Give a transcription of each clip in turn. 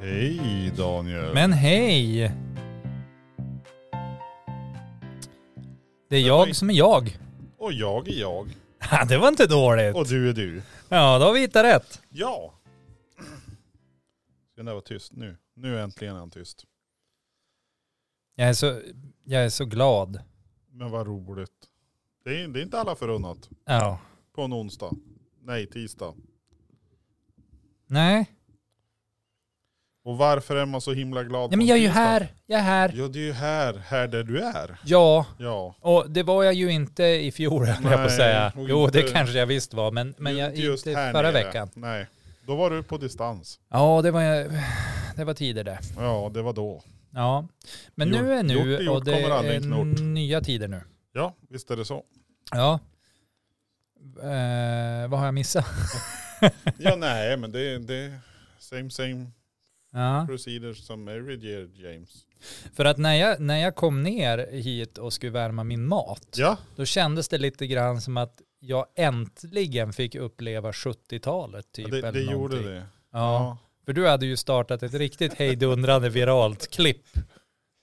Hej Daniel. Men hej! Det är jag som är jag. Och jag är jag. Ha, det var inte dåligt. Och du är du. Ja, då har vi hittat rätt. Ja. Ska den där vara tyst nu? Nu äntligen är han tyst. Jag är så, jag är så glad. Men vad roligt. Det är, det är inte alla förunnat. Ja. På en onsdag. Nej, tisdag. Nej. Och varför är man så himla glad Nej men på jag är ju tisdag? här. Jag är här. Ja, det är ju här, här där du är. Ja, Ja. och det var jag ju inte i fjol höll jag på att Nej, säga. och Jo, det inte- kanske jag visst var, men, men Ju- jag, just inte här förra nere. veckan. Nej. Då var du på distans. Ja, det var, det var tider det. Ja, det var då. Ja. Men Gjort- nu är gjort nu är gjort, och det kommer aldrig är knort. nya tider nu. Ja, visst är det så. Ja. Eh, vad har jag missat? Ja, nej, men det är same same Ja. procedures som every year, James. För att när jag, när jag kom ner hit och skulle värma min mat, Ja, då kändes det lite grann som att jag äntligen fick uppleva 70-talet. Typ, det, det eller gjorde någonting. det. Ja. För du hade ju startat ett riktigt hejdundrande viralt klipp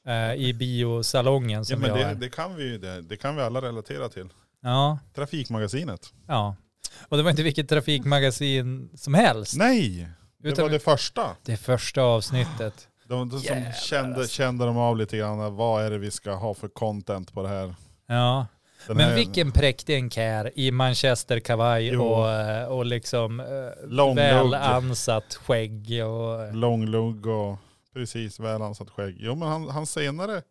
eh, i biosalongen ja som men jag det, är. det, kan vi, ju- det, det kan vi alla relatera till. Ja, Trafikmagasinet. ja. Och det var inte vilket trafikmagasin som helst. Nej, det utan var det första. det första avsnittet. De, de som Jävlar, kände, alltså. kände de av lite grann, vad är det vi ska ha för content på det här? Ja. Den Men här vilken präktig enkär i manchesterkavaj Jo. och, eh, och liksom eh, Lång lugg. välansat skägg och... Lång lugg och precis välansat skägg. Jo men han, han senare,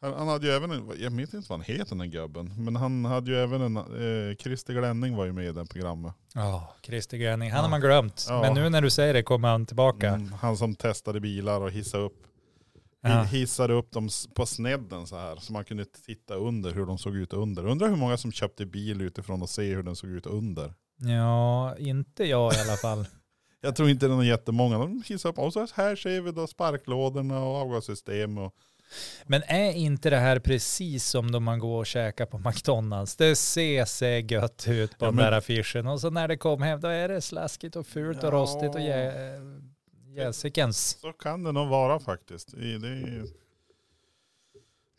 han, han hade ju även, en, jag minns inte vad han heter den här gubben, men han hade ju även en, eh, Christer Glenning var ju med i det programmet. Ja, Christer Gröning. Han Ja. har man glömt. Ja. Men nu när du säger det kommer han tillbaka. Mm, han som testade bilar och hissade upp, Ja. hissade upp dem s- på snedden så här. Så man kunde titta under hur de såg ut under. Undrar hur många som köpte bil utifrån och se hur den såg ut under. Ja, inte jag i alla fall. Jag tror inte det är jättemånga. De hissade upp och så här ser vi då sparklådorna och avgassystem. Och, Men är inte det här precis som då man går och käkar på McDonalds? Det ser sig gött ut på Ja, den men- där affischen och så när det kom hem då är det slaskigt och fult och Ja. rostigt och jä- eh, jäsikens. så kan det nog vara faktiskt. I- Det är,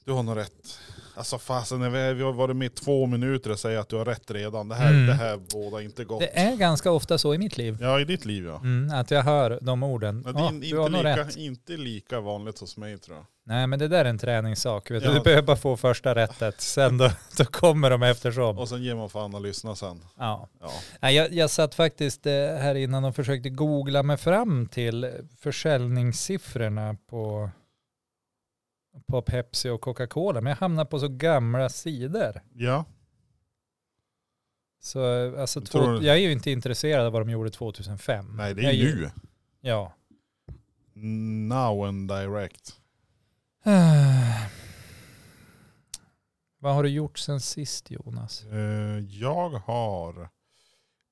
du har nog rätt. Alltså fasen, när vi- vi har varit med i två minuter och säger att du har rätt redan. Det här, Mm. det här båda inte gott. Det är ganska ofta så i mitt liv. Ja, i ditt liv ja. Mm, att jag hör de orden. Men det Ja, är in- du har nog inte, rätt. lika, inte lika vanligt hos mig tror jag. Nej men det där är en träningssak. Vet du? Ja. du behöver bara få första rättet. Sen då, då kommer de eftersom. Och sen ger man fan och lyssnar sen. Ja. Ja. Nej, jag, jag satt faktiskt eh, här innan och försökte googla mig fram till försäljningssiffrorna på, på Pepsi och Coca-Cola. Men jag hamnade på så gamla sidor. ja. Så, eh, alltså, två, Tror du- jag är ju inte intresserad av vad de gjorde 2005. Nej det jag är nu. Ja. Now and direct. Ah. Vad har du gjort sen sist Jonas? Eh, jag har...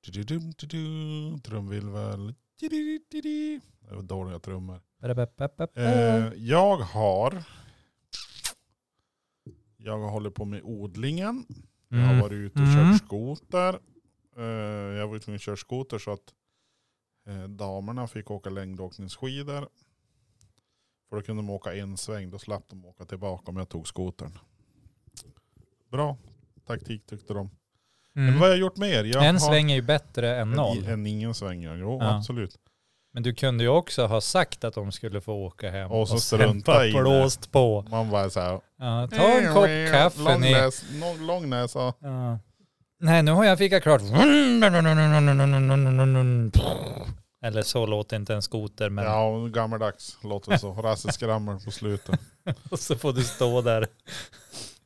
Du-du-dum, du-du, Trumvirvel. Du-du-du-du. Det var dåliga trummor. Eh, jag har... Jag håller på med odlingen. Jag har Mm. varit ute och Mm. kört skoter. Eh, jag var ju tvungen att köra skoter så att eh, damerna fick åka längdåkningsskidor. För då kunde de åka en sväng, då slapp de åka tillbaka om jag tog skotern. Bra taktik tyckte de. Men Mm. vad har jag gjort mer? Jag En har- sväng är ju bättre än En- noll. En ingen sväng ja. Jo Ja. absolut. Men du kunde ju också ha sagt att de skulle få åka hem Och så sen strunta bara i det. blåst på. Man bara så här. Ja, ta en kopp kaffe Mm. Lång ni. näs, lång, lång näsa. Ja. Nej, nu har jag fikat klart. Eller så låter inte en skoter, men Ja gammaldags låter det så. Rasse skramlar på slutet. och så får du stå där.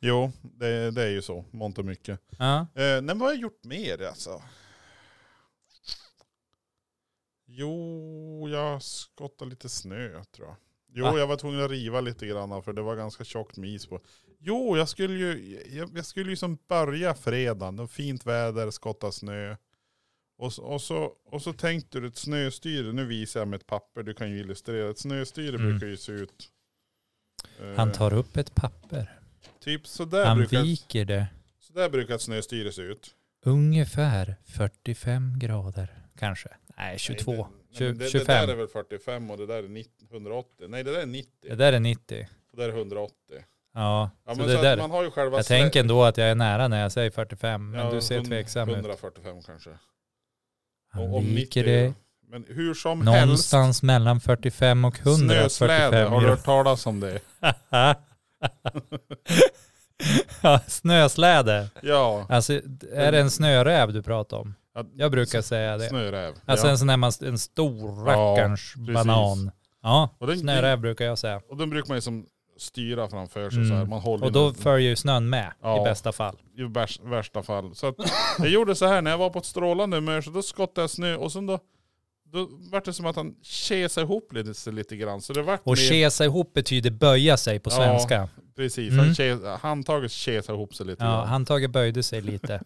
Jo, det, det är ju så. Mångt och mycket. Ja. Eh, nej, men vad har jag gjort mer alltså? Jo, jag skottade lite snö tror jag. Jo, Va? jag var tvungen att riva lite grann för det var ganska tjockt med is på. Jo, jag skulle ju, jag, jag skulle ju som börja fredagen. Det var fint väder, skotta snö. Och, så- och, så, och så tänkte du ett snöstyre. Nu visar jag med ett papper. Du kan ju illustrera. Ett snöstyre Mm. brukar ju se ut. eh, Han tar upp ett papper. typ sådär Han brukar, viker det så där brukar ett snöstyre se ut. ungefär 45 grader kanske. Nej, 22. Nej, det, nej, men det, det 25. där är väl 45 och det där är 90, 180. Nej det där är 90. Det där är 90. Det där är 180. Ja, Ja, så men det så att där. Man har ju själva jag slä- tänker ändå att jag är nära när jag säger 45, men ja, du ser hund- tveksam ut. 145 kanske. Han Och om 90 viker är dig det. Men hur som helst. någonstans mellan 45 och 145. Snösläde, har du ja. hört talas om det? ja, snösläde. Ja, Alltså, är det en snöräv du pratar om? Ja, Jag brukar säga det. snöräv. Alltså ja. en sån där man, en stor Ja, rackarns precis. banan. Ja, och, den, snöräv brukar jag säga. och den brukar man ju som styra framför sig Mm. så här. Man håller Och då den följer ju snön med Ja. i bästa fall. i värs- värsta fall. Så att jag gjorde så här när jag var på ett strålande humör så då skottade jag snö och sen då, då vart det som att han kesade ihop lite, sig lite grann. Så det vart Och kesa ihop betyder böja sig på Ja. svenska. precis, Mm. han kes, handtaget kesade ihop sig lite Ja, grann. handtaget böjde sig lite.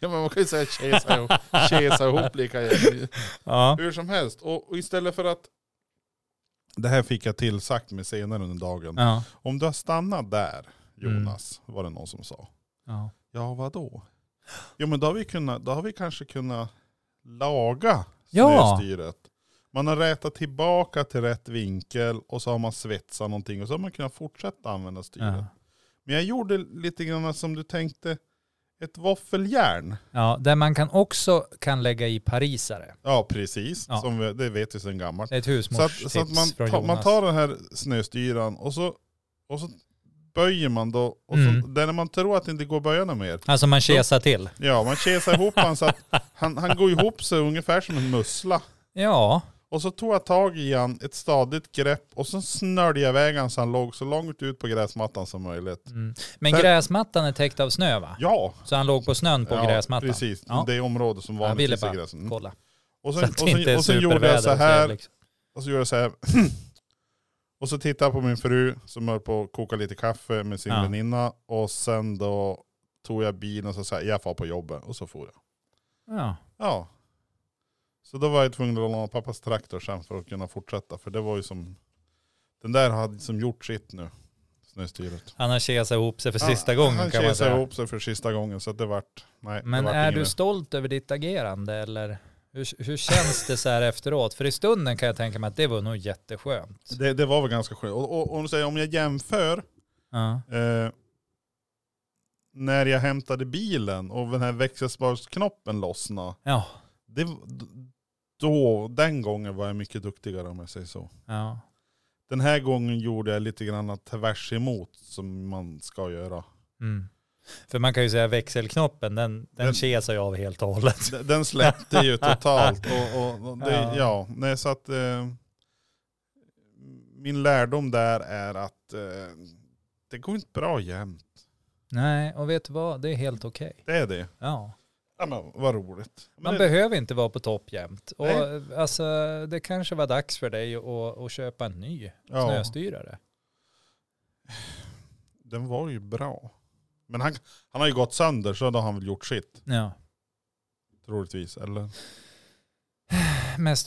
Ja men man kan ju säga kesa ihop, kesa ihop lika gärna. Ja. Hur som helst, och, och istället för att det här fick jag tillsagt mig senare under dagen. Ja. Om du har stannat där, Mm. Jonas, var det någon som sa. ja. Ja, vadå? Jo, men då har vi, kunnat, då har vi kanske kunnat laga Ja. snöstyret. Man har rätat tillbaka till rätt vinkel och så har man svetsat någonting och så har man kunnat fortsätta använda styret. Ja. Men jag gjorde lite grann som du tänkte, ett våffeljärn. ja, där man kan också kan lägga i parisare. Ja, precis. Ja. Som vi, det vet vi sedan gammalt. Det är ett Så att, husmorstips så att man, från ta, Jonas. man tar den här snöstyran och så, och så böjer man då. Och så, Mm. där när man tror att det inte går att böja något mer, Alltså man kesar till. Ja, man kesar ihop han så att han, han går ihop sig ungefär som en mussla. Ja, Och så tog jag tag i han, ett stadigt grepp och så snörde jag iväg han så han låg så långt ut på gräsmattan som möjligt. mm. men För- gräsmattan är täckt av snö va? Ja, Så han låg på snön på ja gräsmattan? precis. Ja. Det område som Jag ville vanligtvis är bara gräs. Mm. Kolla. Och Så sen, att och det inte sen, är och sen gjorde jag så superväder och här, liksom. och så gjorde jag så här. Och så tittade jag på min fru som höll på att koka lite kaffe med sin Ja. väninna. Och sen då tog jag bilen och så sa jag, jag far på jobbet. Och så for jag. Ja. Ja. Så då var jag tvungen att låna pappas traktor sen för att kunna fortsätta. För det var ju som, den där hade som gjort sitt nu, snöstyret. Han har kesat ihop sig för Ja, sista gången Han kan man kesade säga. ihop sig för sista gången så att det vart, nej. Men det vart är ingen du nu. stolt över ditt agerande eller hur, hur känns det så här efteråt? För i stunden kan jag tänka mig att det var nog jätteskönt. det, det var väl ganska skönt. Och, och, och om du säger, om jag jämför, Ja. eh, när jag hämtade bilen och den här växelsparsknoppen lossnade, Ja. det, då, den gången var jag mycket duktigare om jag säger så. ja. Den här gången gjorde jag lite grann tvärs emot som man ska göra. Mm. För man kan ju säga växelknoppen, den, den Den- kesar ju av helt och hållet. D- Den släppte ju totalt. Och, och, och det, Ja. ja. nej, så att eh, min lärdom där är att eh, det går inte bra jämt. Nej, och vet du vad? Det är helt okej. Det är det. Ja. Ja, men vad roligt. Men Man det, behöver inte vara på topp jämt. Och Nej. alltså, det kanske var dags för dig att, att köpa en ny ja, snöstyrare. den var ju bra. Men han, han har ju gått sönder så då har han väl gjort sitt. Ja. Troligtvis. Eller? Mest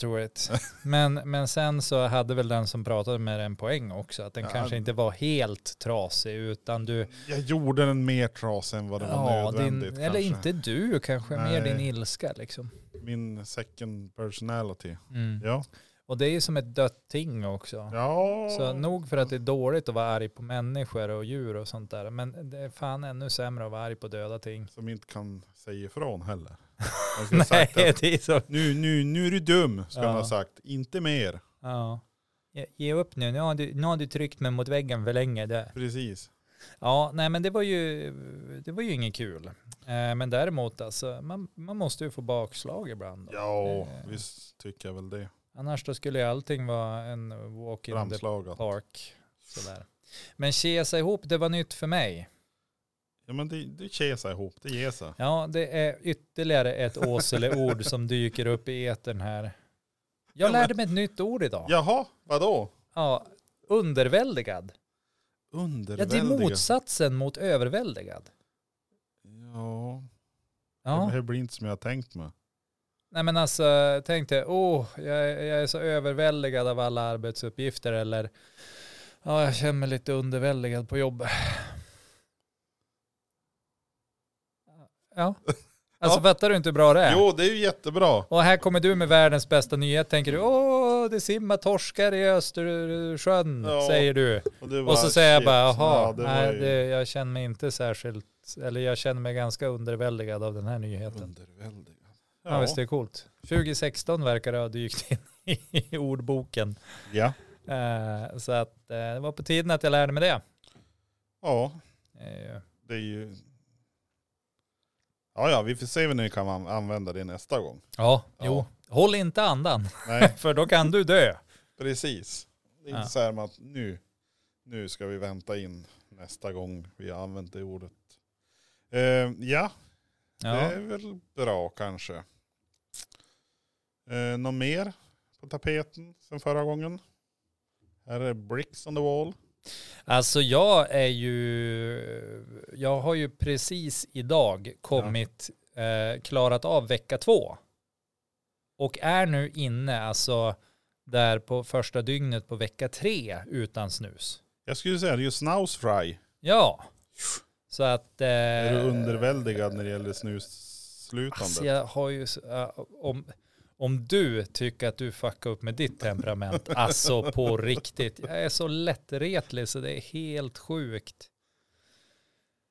troligt. Men, men sen så hade väl den som pratade med den poäng också, att den Ja. kanske inte var helt trasig utan du, Jag gjorde den mer trasig än vad det var din, nödvändigt. eller kanske. inte du kanske, Nej. mer din ilska liksom. Min second personality. Mm. Ja. Och det är ju som ett dött ting också. ja. Så nog för att det är dåligt att vara arg på människor och djur och sånt där, men det är fan ännu sämre att vara arg på döda ting. Som inte kan säga ifrån heller. Man skulle ha Nej, sagt att det är så. nu, nu, nu är du dum, ska han Ja. ha sagt. Inte mer. Ja. Ge- Ge upp nu, nu har, du, nu har du tryckt mig mot väggen för länge. Det. Precis. Ja, nej men det var ju, det var ju inget kul. Eh, men däremot alltså, man, man måste ju få bakslag ibland. då. Ja, Eh, visst tycker jag väl det. Annars då skulle ju allting vara en walk in the Framslagat. park. Sådär. Men kesa ihop, det var nytt för mig. Ja men det, det kesar ihop, det ger sig. Ja, det är ytterligare ett Åsele-ord som dyker upp i etern här. Jag Ja, men- lärde mig ett nytt ord idag. Jaha, vadå? Ja, underväldigad. Ja, det Underväldiga. är motsatsen mot överväldigad. Ja, Ja. det här blir inte som jag har tänkt mig. Nej men alltså, tänk dig, oh, jag, är- jag är så överväldigad av alla arbetsuppgifter eller ja, jag känner mig lite underväldigad på jobbet. Ja, Alltså Ja. fattar du inte hur bra det är? Jo, det är ju jättebra. Och här kommer du med världens bästa nyhet, tänker du. Åh, det simmar torskar i Östersjön, Ja. säger du. Och, du Och så säger jag shit, bara, jaha, ja, det var nej, ju det, jag känner mig inte särskilt, eller jag känner mig ganska underväldigad av den här nyheten. underväldigande. Ja, visst det är coolt. 2016 verkar det ha dykt in i ordboken. Ja. Eh, så att eh, det var på tiden att jag lärde mig det. ja, Eh, det är ju... Ja, ja, vi får se när vi kan an- använda det nästa gång. ja, Ja. jo. Håll inte andan, Nej, för då kan du dö. precis. Det är inte Ja. så här med att nu, nu ska vi vänta in nästa gång vi har använt det ordet. Eh, ja, det Ja. är väl bra kanske. Eh, något mer på tapeten sen förra gången? Här är Bricks on the wall. Alltså jag är ju, jag har ju precis idag kommit, eh, klarat av vecka två. Och är nu inne, alltså där på första dygnet på vecka tre utan snus. Jag skulle säga det är ju Snausfry. Ja. Så att... Eh, Är du underväldigad när det gäller snusslutande? Alltså jag har ju, så- äh, om, om du tycker att du fuckar upp med ditt temperament, alltså på riktigt. Jag är så lättretlig så det är helt sjukt.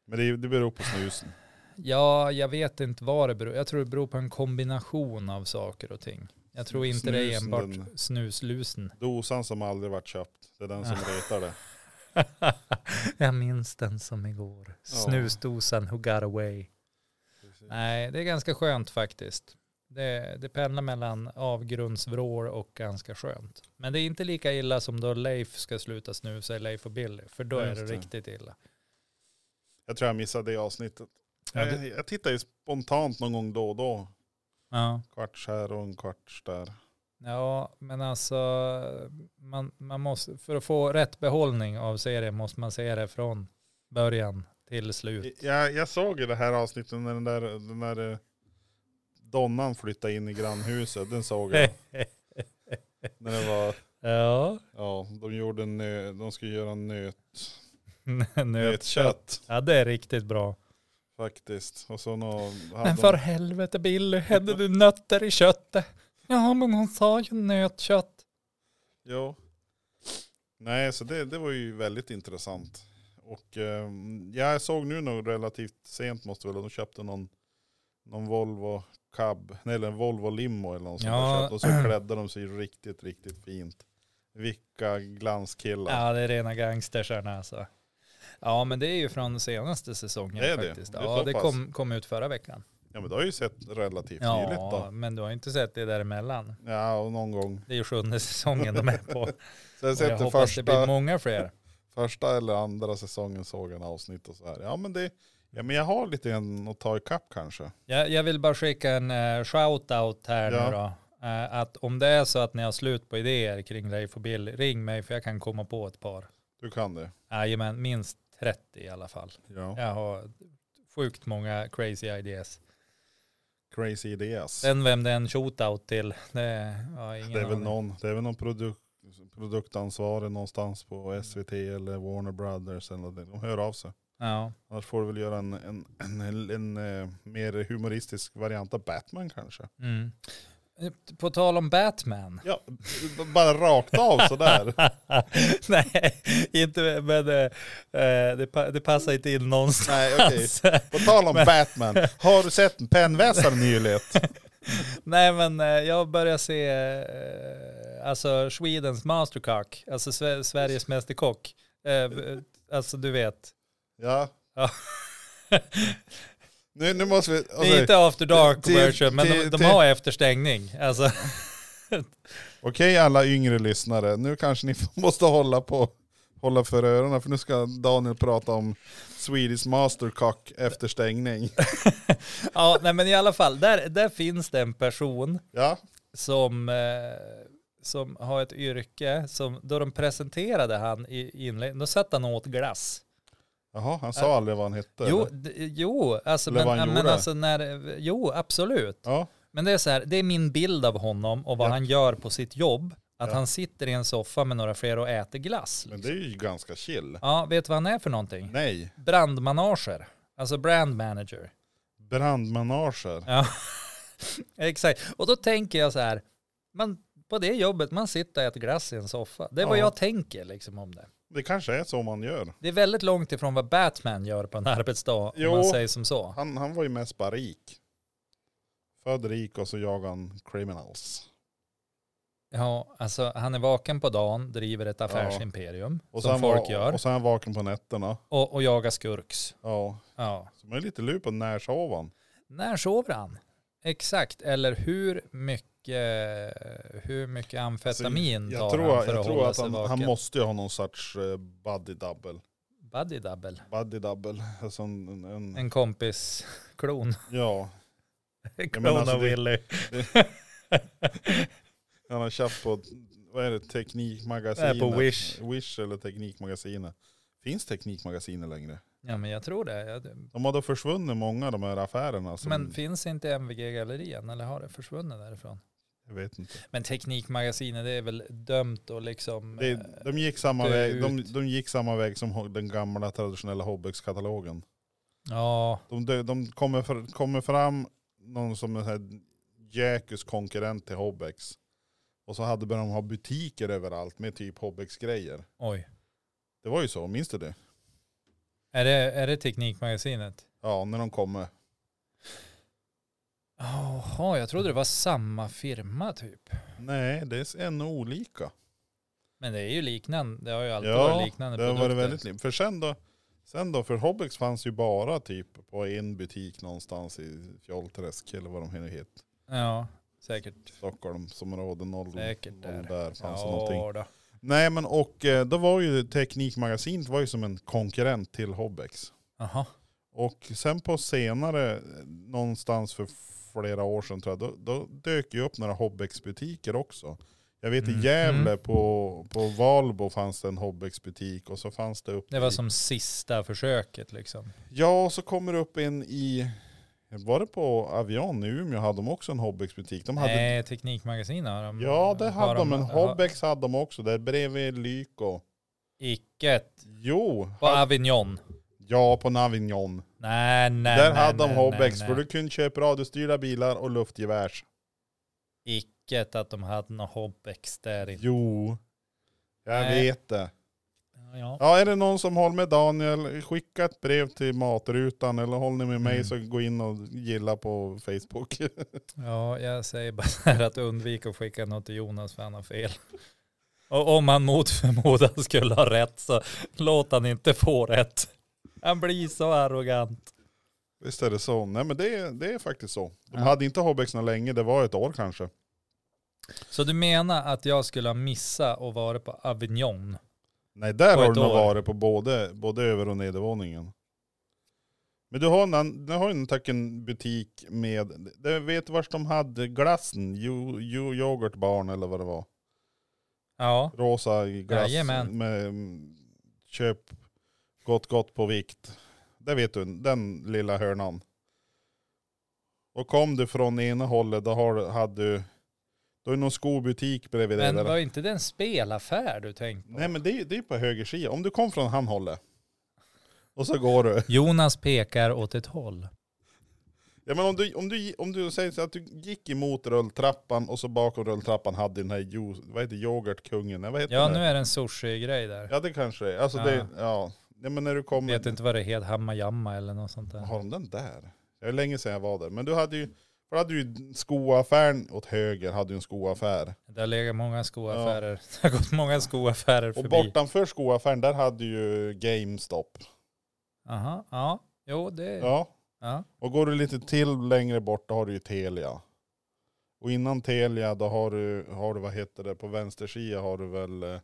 Men det, det beror på snusen. Ja, jag vet inte vad det beror Jag tror det beror på en kombination av saker och ting. Jag tror inte det är Snusen, enbart den- snuslusen. Dosan som aldrig varit köpt, det är den som retar det. jag minns den som igår. Snusdosan who got away. Nej, det är ganska skönt faktiskt. Det, det pendlar mellan avgrundsvrår och ganska skönt. Men det är inte lika illa som då Leif ska sluta snusa, Leif och Billy, för då Ja, är just det, det. riktigt illa. Jag tror jag missade det avsnittet. Ja, Jag, det, jag tittar ju spontant någon gång då och då. ja. Kvarts här och en kvarts där. ja men alltså, man, man måste, för att få rätt behållning av serien måste man se det från början till slut. Jag, jag såg ju det här avsnittet när den där, den där eh, donnan flyttade in i grannhuset. Den såg jag. när det var, ja, ja, de, gjorde en nö, de skulle göra en nöt, nötkött. nötkött Ja, det är riktigt bra. faktiskt. Och så nå, hade Men de- för helvete Billy, hade du nötter i köttet? Ja, men hon sa ju nötkött. Ja. Nej, så det, det var ju väldigt intressant. Och eh, jag såg nu nog relativt sent måste väl, de köpte någon, någon Volvo Cab, nej eller en Volvo Limo eller något sånt Ja. där köpte. Och så klädde de sig riktigt, riktigt fint. Vilka glanskillar. Ja, det är rena gangstersarna alltså. Ja, men det är ju från senaste säsongen Det är det. faktiskt. Det är ja, så det pass. kom, kom ut förra veckan. Ja men det har ju sett relativt nyligt Ja, då. men du har ju inte sett det däremellan. Ja och någon gång. Det är ju sjunde säsongen de är på. Och Så jag har jag sett det hoppas det blir första, många fler. första eller andra säsongen såg jag en avsnitt och så här. Ja men det, ja men jag har lite grann att ta ikapp kanske. Jag, jag vill bara skicka en eh, shout-out här Ja. nu då. Eh, att om det är så att ni har slut på idéer kring Leif och Bill, ring mig för jag kan komma på ett par. Du kan det. Jajamän, minst 30 i alla fall. Ja. Jag har sjukt många crazy ideas. Crazy ideas. Sen vem det är en shootout till, det har jag ingen Det är väl aning. någon, det är väl någon produk, produktansvarig någonstans på SVT eller Warner Brothers eller någonting. De hör av sig. Ja. Annars får du väl göra en, en, en, en, eh, mer humoristisk variant av Batman kanske. Mm. På tal om Batman. Ja, b- bara rakt av sådär. Nej, inte, men eh, eh, det, pa- det passar inte in någonstans. Nej okej. Alltså, På tal om Batman, har du sett en pennvässare nyligen? Nej men eh, jag börjar se eh, alltså Swedens masterkock, alltså Sve- Sveriges mästerkock. Eh, v- alltså du vet. Ja. Ja. Nu, nu måste vi... Det är Alltså, inte after dark till- version, men de, till- de till- har efterstängning. Alltså, Okej alla yngre lyssnare, nu kanske ni måste hålla på hålla för öronen för nu ska Daniel prata om Swedish Mastercock efter stängning. ja, nej, men i alla fall, där, där finns det en person Ja, som, eh, som har ett yrke som, då de presenterade han i inledningen, då satt han och åt glass. jaha, han sa aldrig vad han hette. Jo, eller? d- jo, alltså, Eller men, vad han men gjorde. alltså när, jo, absolut. Ja, Men det är så här, det är min bild av honom och vad Ja. han gör på sitt jobb. Att Ja. han sitter i en soffa med några fler och äter glass. liksom. men det är ju ganska chill. Ja, vet du vad han är för någonting? Nej, Brandmanager. Alltså brand manager. Brandmanager. Ja, exakt. Och då tänker jag så här, man, på det jobbet, man sitter och äter glass i en soffa. Det är vad Ja. jag tänker liksom om det. Det kanske är så man gör. Det är väldigt långt ifrån vad Batman gör på en arbetsdag, Jo. om man säger som så. Han, han var ju mest bara rik. Född rik och så jagar han criminals. Ja, alltså han är vaken på dagen, driver ett affärsimperium, Och som sen folk var, gör, Och sen vaken på nätterna. och, och jagar skurks. Ja. Ja. Så man är lite lur på närsovan. När sover han? Exakt, eller hur mycket, hur mycket amfetamin Alltså, jag tar tror, han för jag att tror hålla att sig han, vaken? han måste ju ha någon sorts eh, buddy double. Buddy double, Buddy double. Alltså en, en, en, en kompis klon. ja, Klon men alltså av det- Willy. han har köpt på, vad är det, Teknikmagasinet? Nej, på Wish. Wish eller Teknikmagasinet. Finns Teknikmagasinet längre? Ja men jag tror det. Jag, De har då försvunnit många av de här affärerna. Som, men finns inte MVG-gallerian eller har det försvunnit därifrån? jag vet inte. Men Teknikmagasinet det är väl dömt och liksom... Det, eh, de, gick samma dö väg, de, ut. de gick samma väg som ho- den gamla traditionella Hobbex-katalogen. Ja, De, dö- de kommer, fr- kommer fram någon som en sån här Jäkus konkurrent till Hobbex. Och så hade de ha butiker överallt med typ Hobbex-grejer. oj. Det var ju så, minns du det? Är det, är det Teknikmagasinet? Ja, när de kommer. Jaha, jag trodde det var samma firma typ. Nej, det är ännu olika. Men det är ju liknande. Det har ju alltid Ja, varit liknande Det har varit produkter. väldigt liv. För sen då, sen då, för Hobbex fanns ju bara typ på en butik någonstans i Fjollträsk eller vad de nu heter. Ja, säkert. Stockholmsområde 0. Säkert Där, där. där fanns det någonting. Ja, då. Nej men och eh, då var ju Teknikmagasinet var ju som en konkurrent till Hobbex. Jaha. Och sen på senare, eh, någonstans för flera år sedan tror jag, då, då dök ju upp några Hobbex-butiker också. Jag vet Mm. i Gävle Mm. på, på Valbo fanns det en Hobbex-butik och så fanns det upp Det var i- som sista försöket liksom. Ja, och så kommer det upp en i, var det på Avion i Umeå hade de också en Hobbex-butik. De hade, Nej, Teknikmagasinet har de. Ja det har hade de, men har- Hobbex hade de också där bredvid Lyko. Icket. Jo, På Avignon. ja på Navignon. Nej, nej, Där nej, hade de nej, Hobbex nej, för nej. du kunde köpa radiostyrda bilar och luftgevärs. Icket att de hade något Hobbex där inne. Jo, jag Nej. vet det. Ja. Ja, är det någon som håller med Daniel, skicka ett brev till matrutan eller håller ni med mig Mm. så gå in och gilla på Facebook. ja, jag säger bara så här att undvik att skicka något till Jonas för han har fel. Och om han mot förmodan skulle ha rätt så låt han inte få rätt. Han blir så arrogant. Visst är det så. Nej men det, är- det är faktiskt så. De Ja. hade inte Hobbex så länge, det var ett år kanske. Så du menar att jag skulle ha missat och varit på Avignon? Nej där På har ett du nog år. varit på både, både över och nedervåningen. Men du har en, ann- du har en, tack, en butik med, det, vet du vart de hade glassen? Jo, jo, yoghurtbarn eller vad det var. Ja, Rosa glass Jajamän. med mm, köp gott gott på vikt. Det vet du, den lilla hörnan. Och kom du från ena hållet då har, du- hade du, då är det någon skobutik bredvid dig. men Där. var inte det en spelaffär du tänkte på? Nej men det är ju det är på höger sida. Om du kom från han hållet. Och så går du. Jonas pekar åt ett håll. Ja men om du, om du, om du säger så att du gick emot rulltrappan och så bakom rulltrappan hade den här juice, vad heter yoghurtkungen? Nej, Vad heter Ja, den? nu är det en sushi-grej där. Ja det kanske är. Alltså Ja. det, ja. Nej men när du kommer. vet inte vad det heter, Hammajamma eller något sånt där. Har de den där? Det är länge sedan jag var där. Men du hade ju, för hade ju skoaffären åt höger, hade ju en skoaffär. Det har legat många skoaffärer. Det har gått många skoaffärer Och förbi. bortanför skoaffären, där hade ju GameStop. Aha, ja. Jo, det... Mm. Ja. Ja. Och går du lite till längre bort, då har du ju Telia. Och innan Telia, då har du, har du vad heter det, på vänstersida har du väl... eh,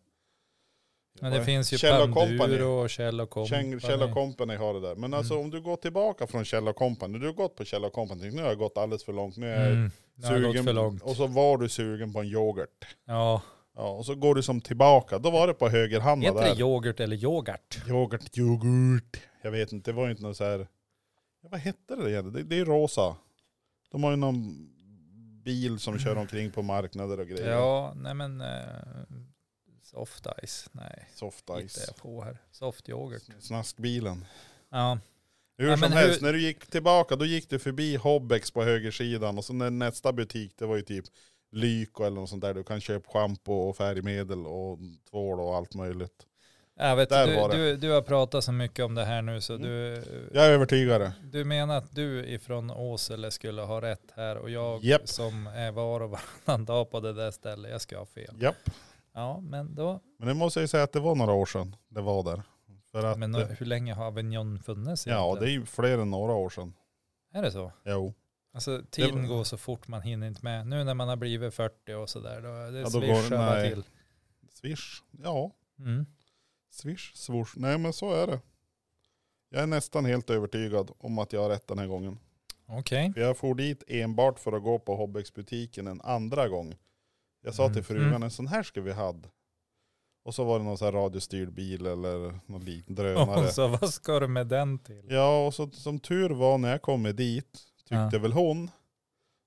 Men vad det är- finns ju Kjell och Company. Panduro och Kjell Mm. och Company. Käng- Kjell och Company har det där. Men alltså om du går tillbaka från Kjell och Company, du har gått på Kjell och Company, nu har jag gått alldeles för långt, nu är jag Mm, det har gått sugen. för långt. Och så var du sugen på en yoghurt. Ja. Ja, och så går du som tillbaka. Då var det på höger hand Heter det där. yoghurt eller yoghurt? Yoghurt, yoghurt. Jag vet inte, det var ju inte något så här. Ja, vad hette det igen? Det, det är rosa. De har ju någon bil som kör omkring på marknader och grejer. Ja, nej men... eh, soft ice. Nej, Soft hittar ice. jag på här. Soft yoghurt. Snaskbilen. Ja. Hur Ja, som men helst, hur- när du gick tillbaka då gick du förbi Hobbex på högersidan och så när nästa butik det var ju typ Lyko eller något sånt där. Du kan köpa schampo och färgmedel och tvål och allt möjligt. Jag Äh, vet, Där du, var det. du, du har pratat så mycket om det här nu så Mm. du, Jag är övertygad. du menar att du ifrån Åsele skulle ha rätt här och jag Japp. som är var och varannan dag på det där stället, jag ska ha fel. Japp. Ja, men då, Men det måste jag ju säga att det var några år sedan det var där. För att, men nå- hur länge har Avignon funnits ja, det är egentligen? ju fler än några år sedan. Är det så? Jo. Alltså tiden var- går så fort man hinner inte med. Nu när man har blivit 40 och sådär, då är det Ja, då går- swishar bara nej. till. Swish. Ja, Mm. swish, swoosh. Nej men så är det. Jag är nästan helt övertygad om att jag har rätt den här gången. Okej. För jag for dit enbart för att gå på Hobbex-butiken en andra gång. Jag sa till Mm. frugan, Mm. en sån här ska vi ha. Och så var det någon sån här radiostyrd bil eller någon liten drönare. Och så vad ska du med den till? Ja, och så som tur var när jag kom dit, tyckte Ja. väl hon,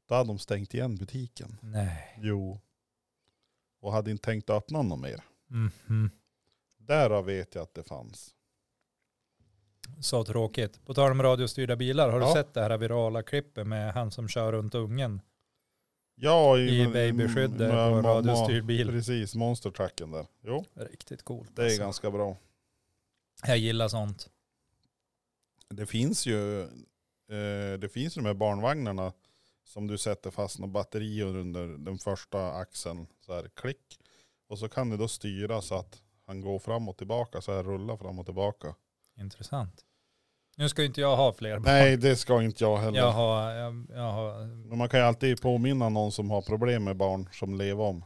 då hade de stängt igen butiken. Nej. Jo. Och hade inte tänkt att öppna någon mer. Mhm. Därav vet jag att det fanns. Så tråkigt. På tal om radiostyrda bilar, har Ja. du sett det här virala klippet med han som kör runt ungen Ja, mm, i babyskyddet på en radiostyrd bil? Precis, monstertracken där. Jo, Riktigt coolt. det är alltså. ganska bra. Jag gillar sånt. Det finns ju eh, det finns ju de här barnvagnarna som du sätter fast några batterier under den första axeln. Så här klick. Och så kan du då styra så att han går fram och tillbaka. Så här rullar fram och tillbaka. Intressant. Nu ska ju inte jag ha fler barn. Nej det ska inte jag heller. Jag har, jag, jag har, Men man kan ju alltid påminna någon som har problem med barn som lever om.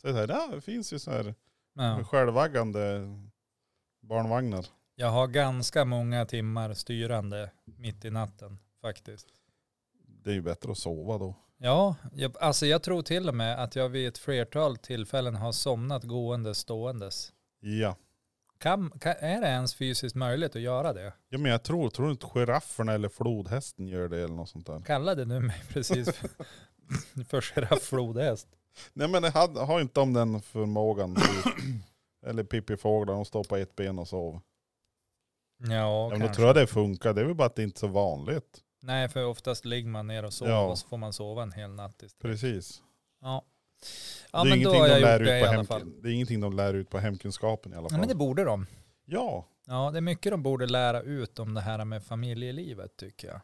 Så det, här, ja, det finns ju så här ja. självaggande barnvagnar. jag har ganska många timmar styrande mitt i natten faktiskt. Det är ju bättre att sova då. Ja, jag, alltså jag tror till och med att jag vid ett flertal tillfällen har somnat gående ståendes. Ja. Kan, kan, är det ens fysiskt möjligt att göra det? Ja men jag tror, tror du inte girafferna eller flodhästen gör det eller något sånt där? Kallade du mig precis för, för giraffflodhäst? Nej men jag hade, har inte om den förmågan. eller pippifåglar, de står på ett ben och sover. Ja, Ja, men då kanske. tror jag det funkar, det är väl bara att det inte är så vanligt. Nej, för oftast ligger man ner och sover Ja. och så får man sova en hel natt istället. Precis. Ja, ja det, är men då ingenting har de jag lär gjort ut på det i alla hemk- fall. det är ingenting de lär ut på hemkunskapen i alla Ja, fall. men det borde de. Ja, Ja, det är mycket de borde lära ut om det här med familjelivet tycker jag.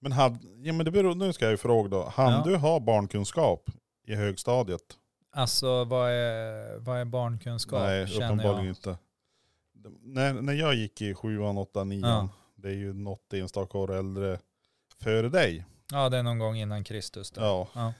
men, hade, ja, men det beror, nu ska jag ju fråga då. Han Ja. du ha barnkunskap i högstadiet? Alltså vad är, vad är barnkunskap? Nej, känner jag. uppenbarligen inte. De- När, när jag gick i sjuan, åttan, nian, det är ju något enstaka år äldre före dig. Ja, det är någon gång innan Kristus. Då. Ja. Ja.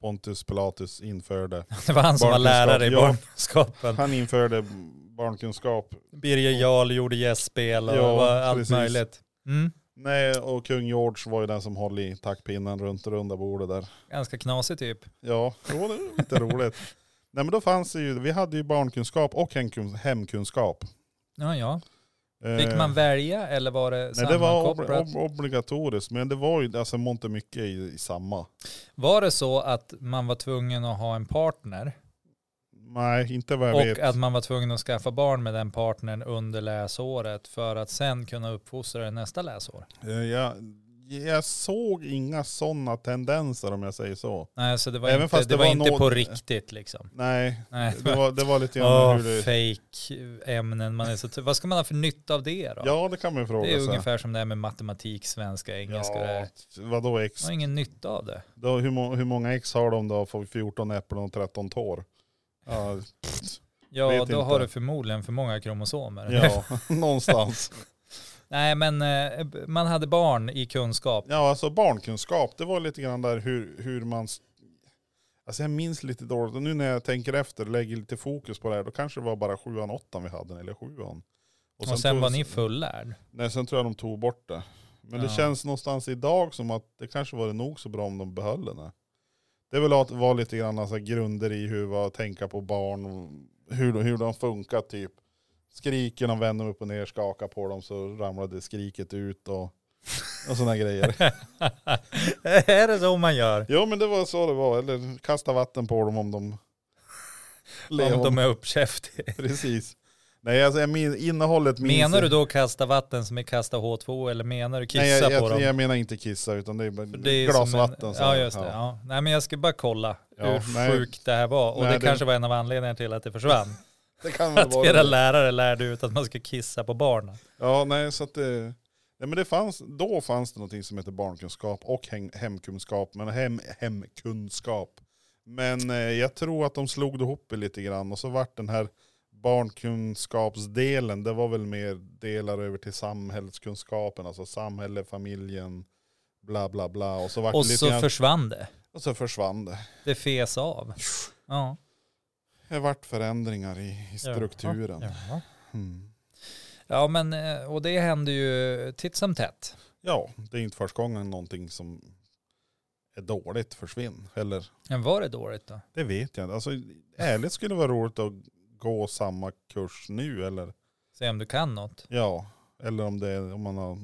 Pontus Pilatus införde Det var han som var Barnkunskap, lärare i ja. barnkunskapen. Han införde barnkunskap. Birger Jarl gjorde gästspel och Ja, var allt precis. möjligt. Mm. Nej, och kung George var ju den som höll i taktpinnen runt det runda bordet där. Ganska knasig typ. Ja, det var lite roligt. Nej men då fanns det ju, vi hade ju barnkunskap och hemkun- hemkunskap. Ja, ja. Eh, Fick man välja eller var det Nej det var ob- sammankopplat? ob- obligatoriskt, men det var ju, alltså mångt och mycket i, i samma. Var det så att man var tvungen att ha en partner Nej, inte vad jag vet. och att man var tvungen att skaffa barn med den partnern under läsåret för att sen kunna uppfostra det nästa läsår? Eh, jag, jag såg inga sådana tendenser om jag säger så. Nej, så det var Även inte, fast det det var var inte något- på riktigt liksom. Nej, Nej, det var, det var lite grann Åh, hur det... fake ämnen. Man är så ty- vad ska man ha för nytta av det då? Ja det kan man ju fråga det är sig. ungefär som det här med matematik, svenska, engelska. Ja, Ja. vadå ex? Man har ingen nytta av det. Då, hur, må, hur många ex har de då? Får 14 äpplen och 13 tår. Ja, Ja, Vet då inte. har du förmodligen för många kromosomer. ja någonstans. Nej, men eh, man hade barn i kunskap. Ja, alltså barnkunskap, det var lite grann där hur, hur man... s- Alltså jag minns lite dåligt, och nu när jag tänker efter och lägger lite fokus på det här, då kanske det var bara sjuan, åttan vi hade, eller sjuan. Och sen, tog- var ni fullärd. Nej, sen tror jag de tog bort det. Men det Ja. känns någonstans idag som att det kanske var nog så bra om de behöll det. Det är väl att vara lite grann alltså, grunder i hur vad tänka på barn, och hur, de- hur de funkar typ. Skriker de, vänder dem upp och ner, skakar på dem så ramlade skriket ut och, och sådana grejer. är det så man gör? Jo men det var så det var, eller kasta vatten på dem om de Om de är uppkäftiga. Precis. Nej, alltså, jag min, innehållet minns Menar jag- du då kasta vatten som är kasta H2 eller menar du kissa Nej, jag, på jag, dem? jag menar inte kissa utan det är, bara För det är som glasvatten. En, så ja här. just det. Ja. Nej men jag ska bara kolla Ja, hur nej. sjukt det här var. Och Nej, det, det- kanske var en av anledningarna till att det försvann. Det kan väl att vara era det. lärare lärde ut att man ska kissa på barnen. Ja, nej så att det... Nej men det fanns, då fanns det någonting som heter barnkunskap och hem, hemkunskap. Men hem, hemkunskap. Men eh, jag tror att de slog ihop det lite grann och så vart den här barnkunskapsdelen, det var väl mer delar över till samhällskunskapen, alltså samhälle, familjen, bla bla bla. Och så, vart Och det lite så grann, försvann det. och så försvann det. Det fes av. Ja. Det vart förändringar i, i strukturen. Ja, ja. Mm. ja men eh, och det händer ju titt som tätt. Ja, det är inte första gången någonting som är dåligt försvinner. Eller Men var det dåligt då? det vet jag inte. Alltså, ärligt skulle det vara roligt att gå samma kurs nu. Eller, Se om du kan något. ja, eller om, det, är- om man har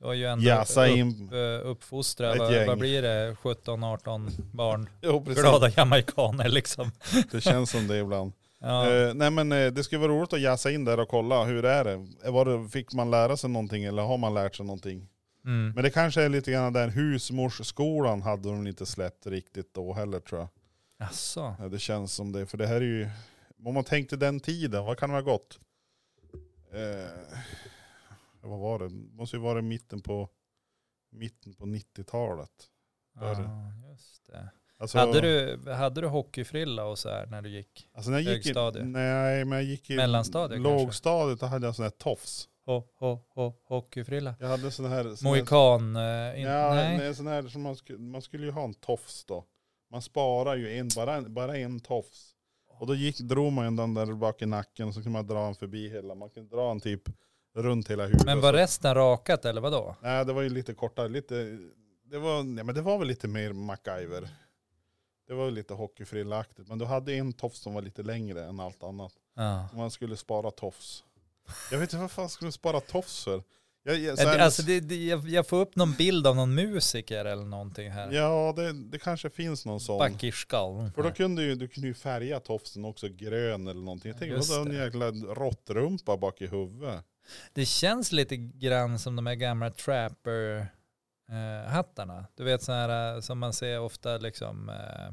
Du har ju ändå jassa upp, in. eh, uppfostrat, ett vad, vad gäng. blir det, 17-18 barn? Jo, precis. Glada jamaikaner liksom. Det känns som det ibland. Ja. Eh, nej men eh, det skulle vara roligt att jassa in där och kolla hur är det? Var det. Fick man lära sig någonting eller har man lärt sig någonting? Mm. Men det kanske är lite grann den husmorsskolan hade de inte släppt riktigt då heller tror jag. Jaså? Ja, det känns som det. För det här är ju, om man tänkte den tiden, vad kan det ha gått? Eh, vad var det? Måste ju vara i mitten på, mitten på 90-talet. Var det? Ja, just det. Alltså, Hade, du, hade du hockeyfrilla och så här när du gick? alltså när jag gick, i- högstadie? Nej, men jag gick i Mellanstadiet kanske? lågstadiet, då hade jag sån här tofs. Ho, ho, ho, hockeyfrilla? Jag hade sån här... Sån här Mohikan? eh, in- ja, nej. nej. sån här som man, skulle, man skulle ju ha en tofs då. Man sparar ju en, bara, en- bara en tofs. Och då gick, drog man ju den där bak i nacken och så kunde man dra den förbi hela, man kunde dra den typ runt hela huvudet. Men Så- var resten rakat eller vadå? Nej, det var ju lite kortare. Lite, det, var, nej, men det var väl lite mer MacGyver. Det var väl lite hockeyfrillaaktigt. Men du hade en tofs som var lite längre än allt annat. Ja. Man skulle spara tofs. Jag vet inte vad fan skulle du spara tofs för? Jag, jag, så här- Det- Alltså det, det, jag, jag får upp någon bild av någon musiker eller någonting här. ja, det, det kanske finns någon sån. Bakirskal. För då kunde ju, du kunde ju färga tofsen också grön eller någonting. Jag tänker, Just vadå en det. Mm. jäkla råttrumpa bak i huvudet? Det känns lite grann som de här gamla trapper eh, hattarna. Du vet så här eh, som man ser ofta liksom eh,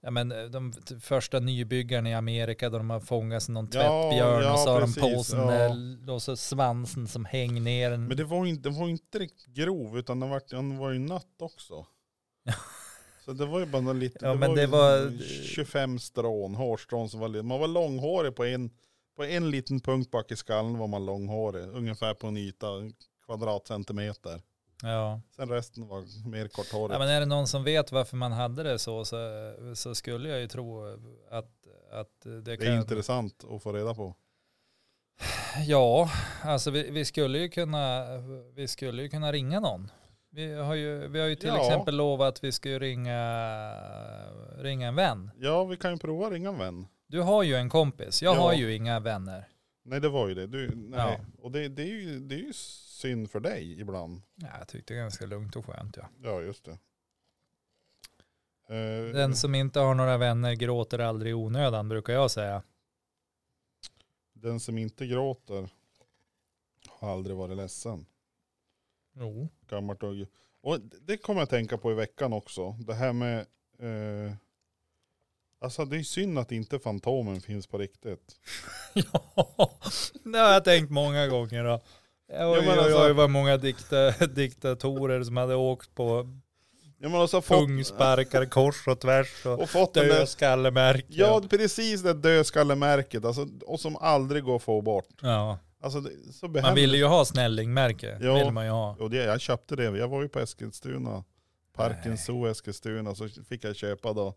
Ja, men eh, de t- första nybyggarna i Amerika då de har fångat någon Ja, tvättbjörn och så ja, har de precis, påsen ja. där, och så svansen som hänger ner. En, Men det var ju inte, den var ju inte riktigt grov utan den var, den var ju nött också. Så det var ju bara någon liten, Ja, men var det ju var- 25 strån, hårstrån som var lite, man var långhårig på en, på en liten punkt bak i skallen var man långhårig. Ungefär på en yta, en kvadratcentimeter. ja. Sen resten var mer korthårig. Ja, men är det någon som vet varför man hade det så så, så skulle jag ju tro att, att det det kan... är intressant att få reda på. Ja, alltså vi, vi, skulle ju kunna, vi skulle ju kunna ringa någon. Vi har ju, vi har ju till Ja. exempel lovat att vi ska ju ringa, ringa en vän. Ja, vi kan ju prova ringa en vän. Du har ju en kompis, jag Ja. har ju inga vänner. Nej det var ju det. Du, nej. Ja. Och det, det, är ju, det är ju synd för dig ibland. Ja, jag tyckte det var ganska lugnt och skönt. Ja. Ja just det. Eh, Den som inte har några vänner gråter aldrig i onödan brukar jag säga. den som inte gråter har aldrig varit ledsen. Jo. Gammalt och, och det kommer jag tänka på i veckan också. Det här med... Eh, alltså det är synd att inte Fantomen finns på riktigt. ja, det har jag tänkt många gånger. Då. Oj, men oj, alltså- oj, vad många dikta, diktatorer som hade åkt på Ja, men alltså, fått, pungsparkar kors och tvärs och och fått den där, dödskallemärken. Ja precis det dödskallemärket. Alltså, och som aldrig går att få bort. Ja, Alltså, det, så man behänder- ville ju ha snällingmärke. Ja. Vill man ju ha. Och det, jag köpte det, jag var ju på Eskilstuna, Parken Zoo Eskilstuna, så fick jag köpa då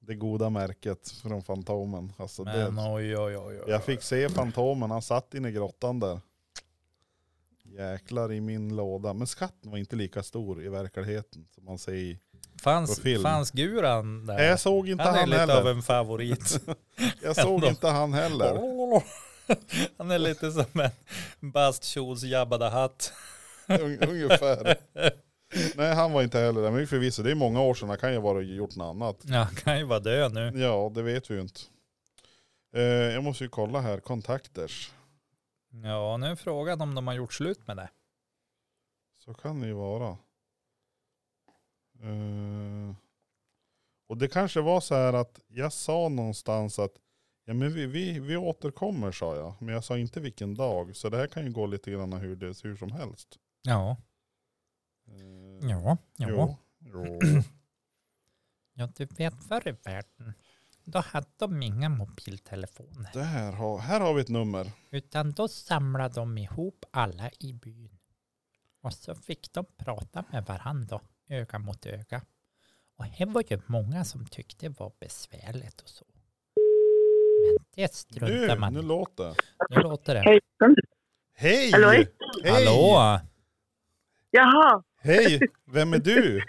det goda märket från Fantomen. Alltså Men det, oj, oj, oj. oj. jag fick se Fantomen, han satt inne i grottan där. Jäklar i min låda. Men skatten var inte lika stor i verkligheten som man ser i. fanns, på film. fanns Guran där? Nej, jag såg inte han är han, lite av heller. en favorit. Jag såg inte han heller. han är lite som en bastkjols jabbade hatt. Un- Ungefär. Nej han var inte heller där. Men förvisso, det är många år sedan. Han kan ju ha varit och gjort något annat. Ja, han kan ju vara död nu. Ja, det vet vi ju inte. Eh, Eh, jag måste ju kolla här, kontakters. Ja, nu är frågan om de har gjort slut med det. Så kan det ju vara. Eh, och det kanske var så här att jag sa någonstans att ja, men vi, vi, vi återkommer sa jag. Men jag sa inte vilken dag. Så det här kan ju gå lite grann hur, det, hur som helst. Ja, Eh, ja, ja. Jo, jo. Ja, du vet förr i världen, då hade de inga mobiltelefoner. Det här, har, här har vi ett nummer. Utan då samlade de ihop alla i byn. Och så fick de prata med varandra, öga mot öga. Och här var ju många som tyckte det var besvärligt och så. Men det struntar Nu, man nu i. låter det. Nu låter det. Hej. Hej! Hallå? Hej! Hallå! Jaha, Hej! Vem är du?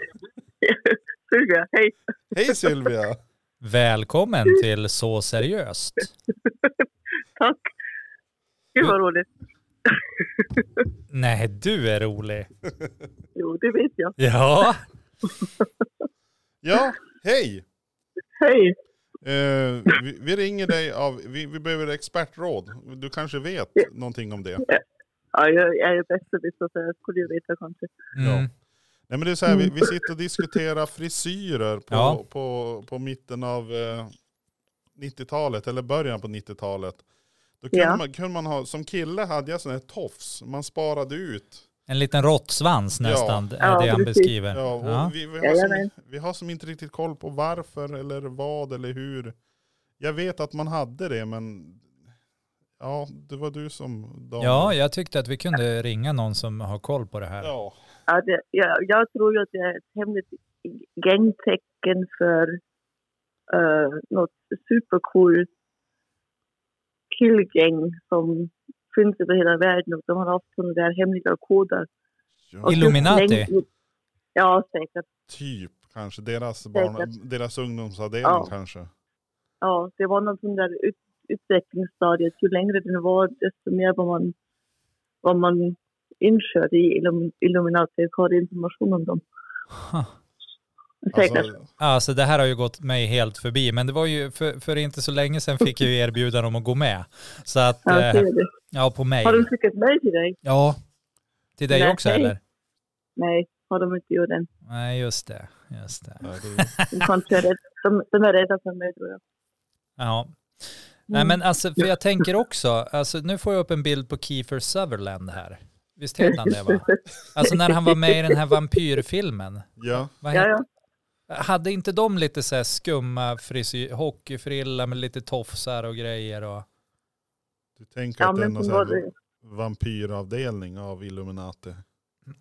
Sylvia, hej. Hej Sylvia! Välkommen till Så seriöst. Tack. Gud vad roligt. Nej, du är rolig. Jo, det vet jag. Ja. Ja, hej! Hej. Eh, vi, vi ringer dig av, vi, vi behöver expertråd. Du kanske vet någonting om det? Ja, jag jag är besserwisser så jag skulle ju veta kanske. Mm. Ja. Nej men det är så här, vi, vi sitter och diskuterar frisyrer på, Ja. på, på mitten av eh, 90-talet, eller början på 90-talet. Då kunde, Ja. man, kunde man ha, som kille hade jag sån här tofs, man sparade ut. En liten råttsvans Ja. nästan, Ja, är det han precis. beskriver. Ja, och Ja. Vi, vi, har som, Jajamän. vi har som inte riktigt koll på varför eller vad eller hur. Jag vet att man hade det men ja, det var du som... Daniel. ja, jag tyckte att vi kunde ringa någon som har koll på det här. ja. Ja, det, jag, jag tror ju att det är ett hemligt gängtecken för eh, något supercoolt killgäng som finns över hela världen och de har haft sådana där hemliga koder. Och ja. just Illuminati? längst- Ja, säkert. Typ kanske, deras, barn, deras ungdomsavdelning Ja. kanske. ja, det var någon sån där ut, utvecklingsstadiet. Ju längre den var, desto mer var man, var man inkörd i Illum- Illuminati och hade information om dem. Huh. Säkert. Alltså, Alltså det här har ju gått mig helt förbi, men det var ju för, för inte så länge sedan fick jag ju erbjudan om att gå med. Så att, ja, eh, så är det. ja på Har de mail. skickat mejl till dig? Ja, till dig Nej. också eller? Nej, har de inte gjort än. Nej, just det. Just det. ja, det- De, kanske är rädd, de, de är rädda för mig tror jag. Ja. Mm. Nej men alltså, för jag tänker också, alltså nu får jag upp en bild på Kiefer Sutherland här. Visst heter han det Mm. va? Alltså när han var med i den här vampyrfilmen. ja. Vad Ja, ja. Hade inte de lite så här skumma frisyr, hockeyfrilla med lite tofsar och grejer? Och... Du tänker ja att det är men någon sen sån här var det, vampyravdelning av Illuminati.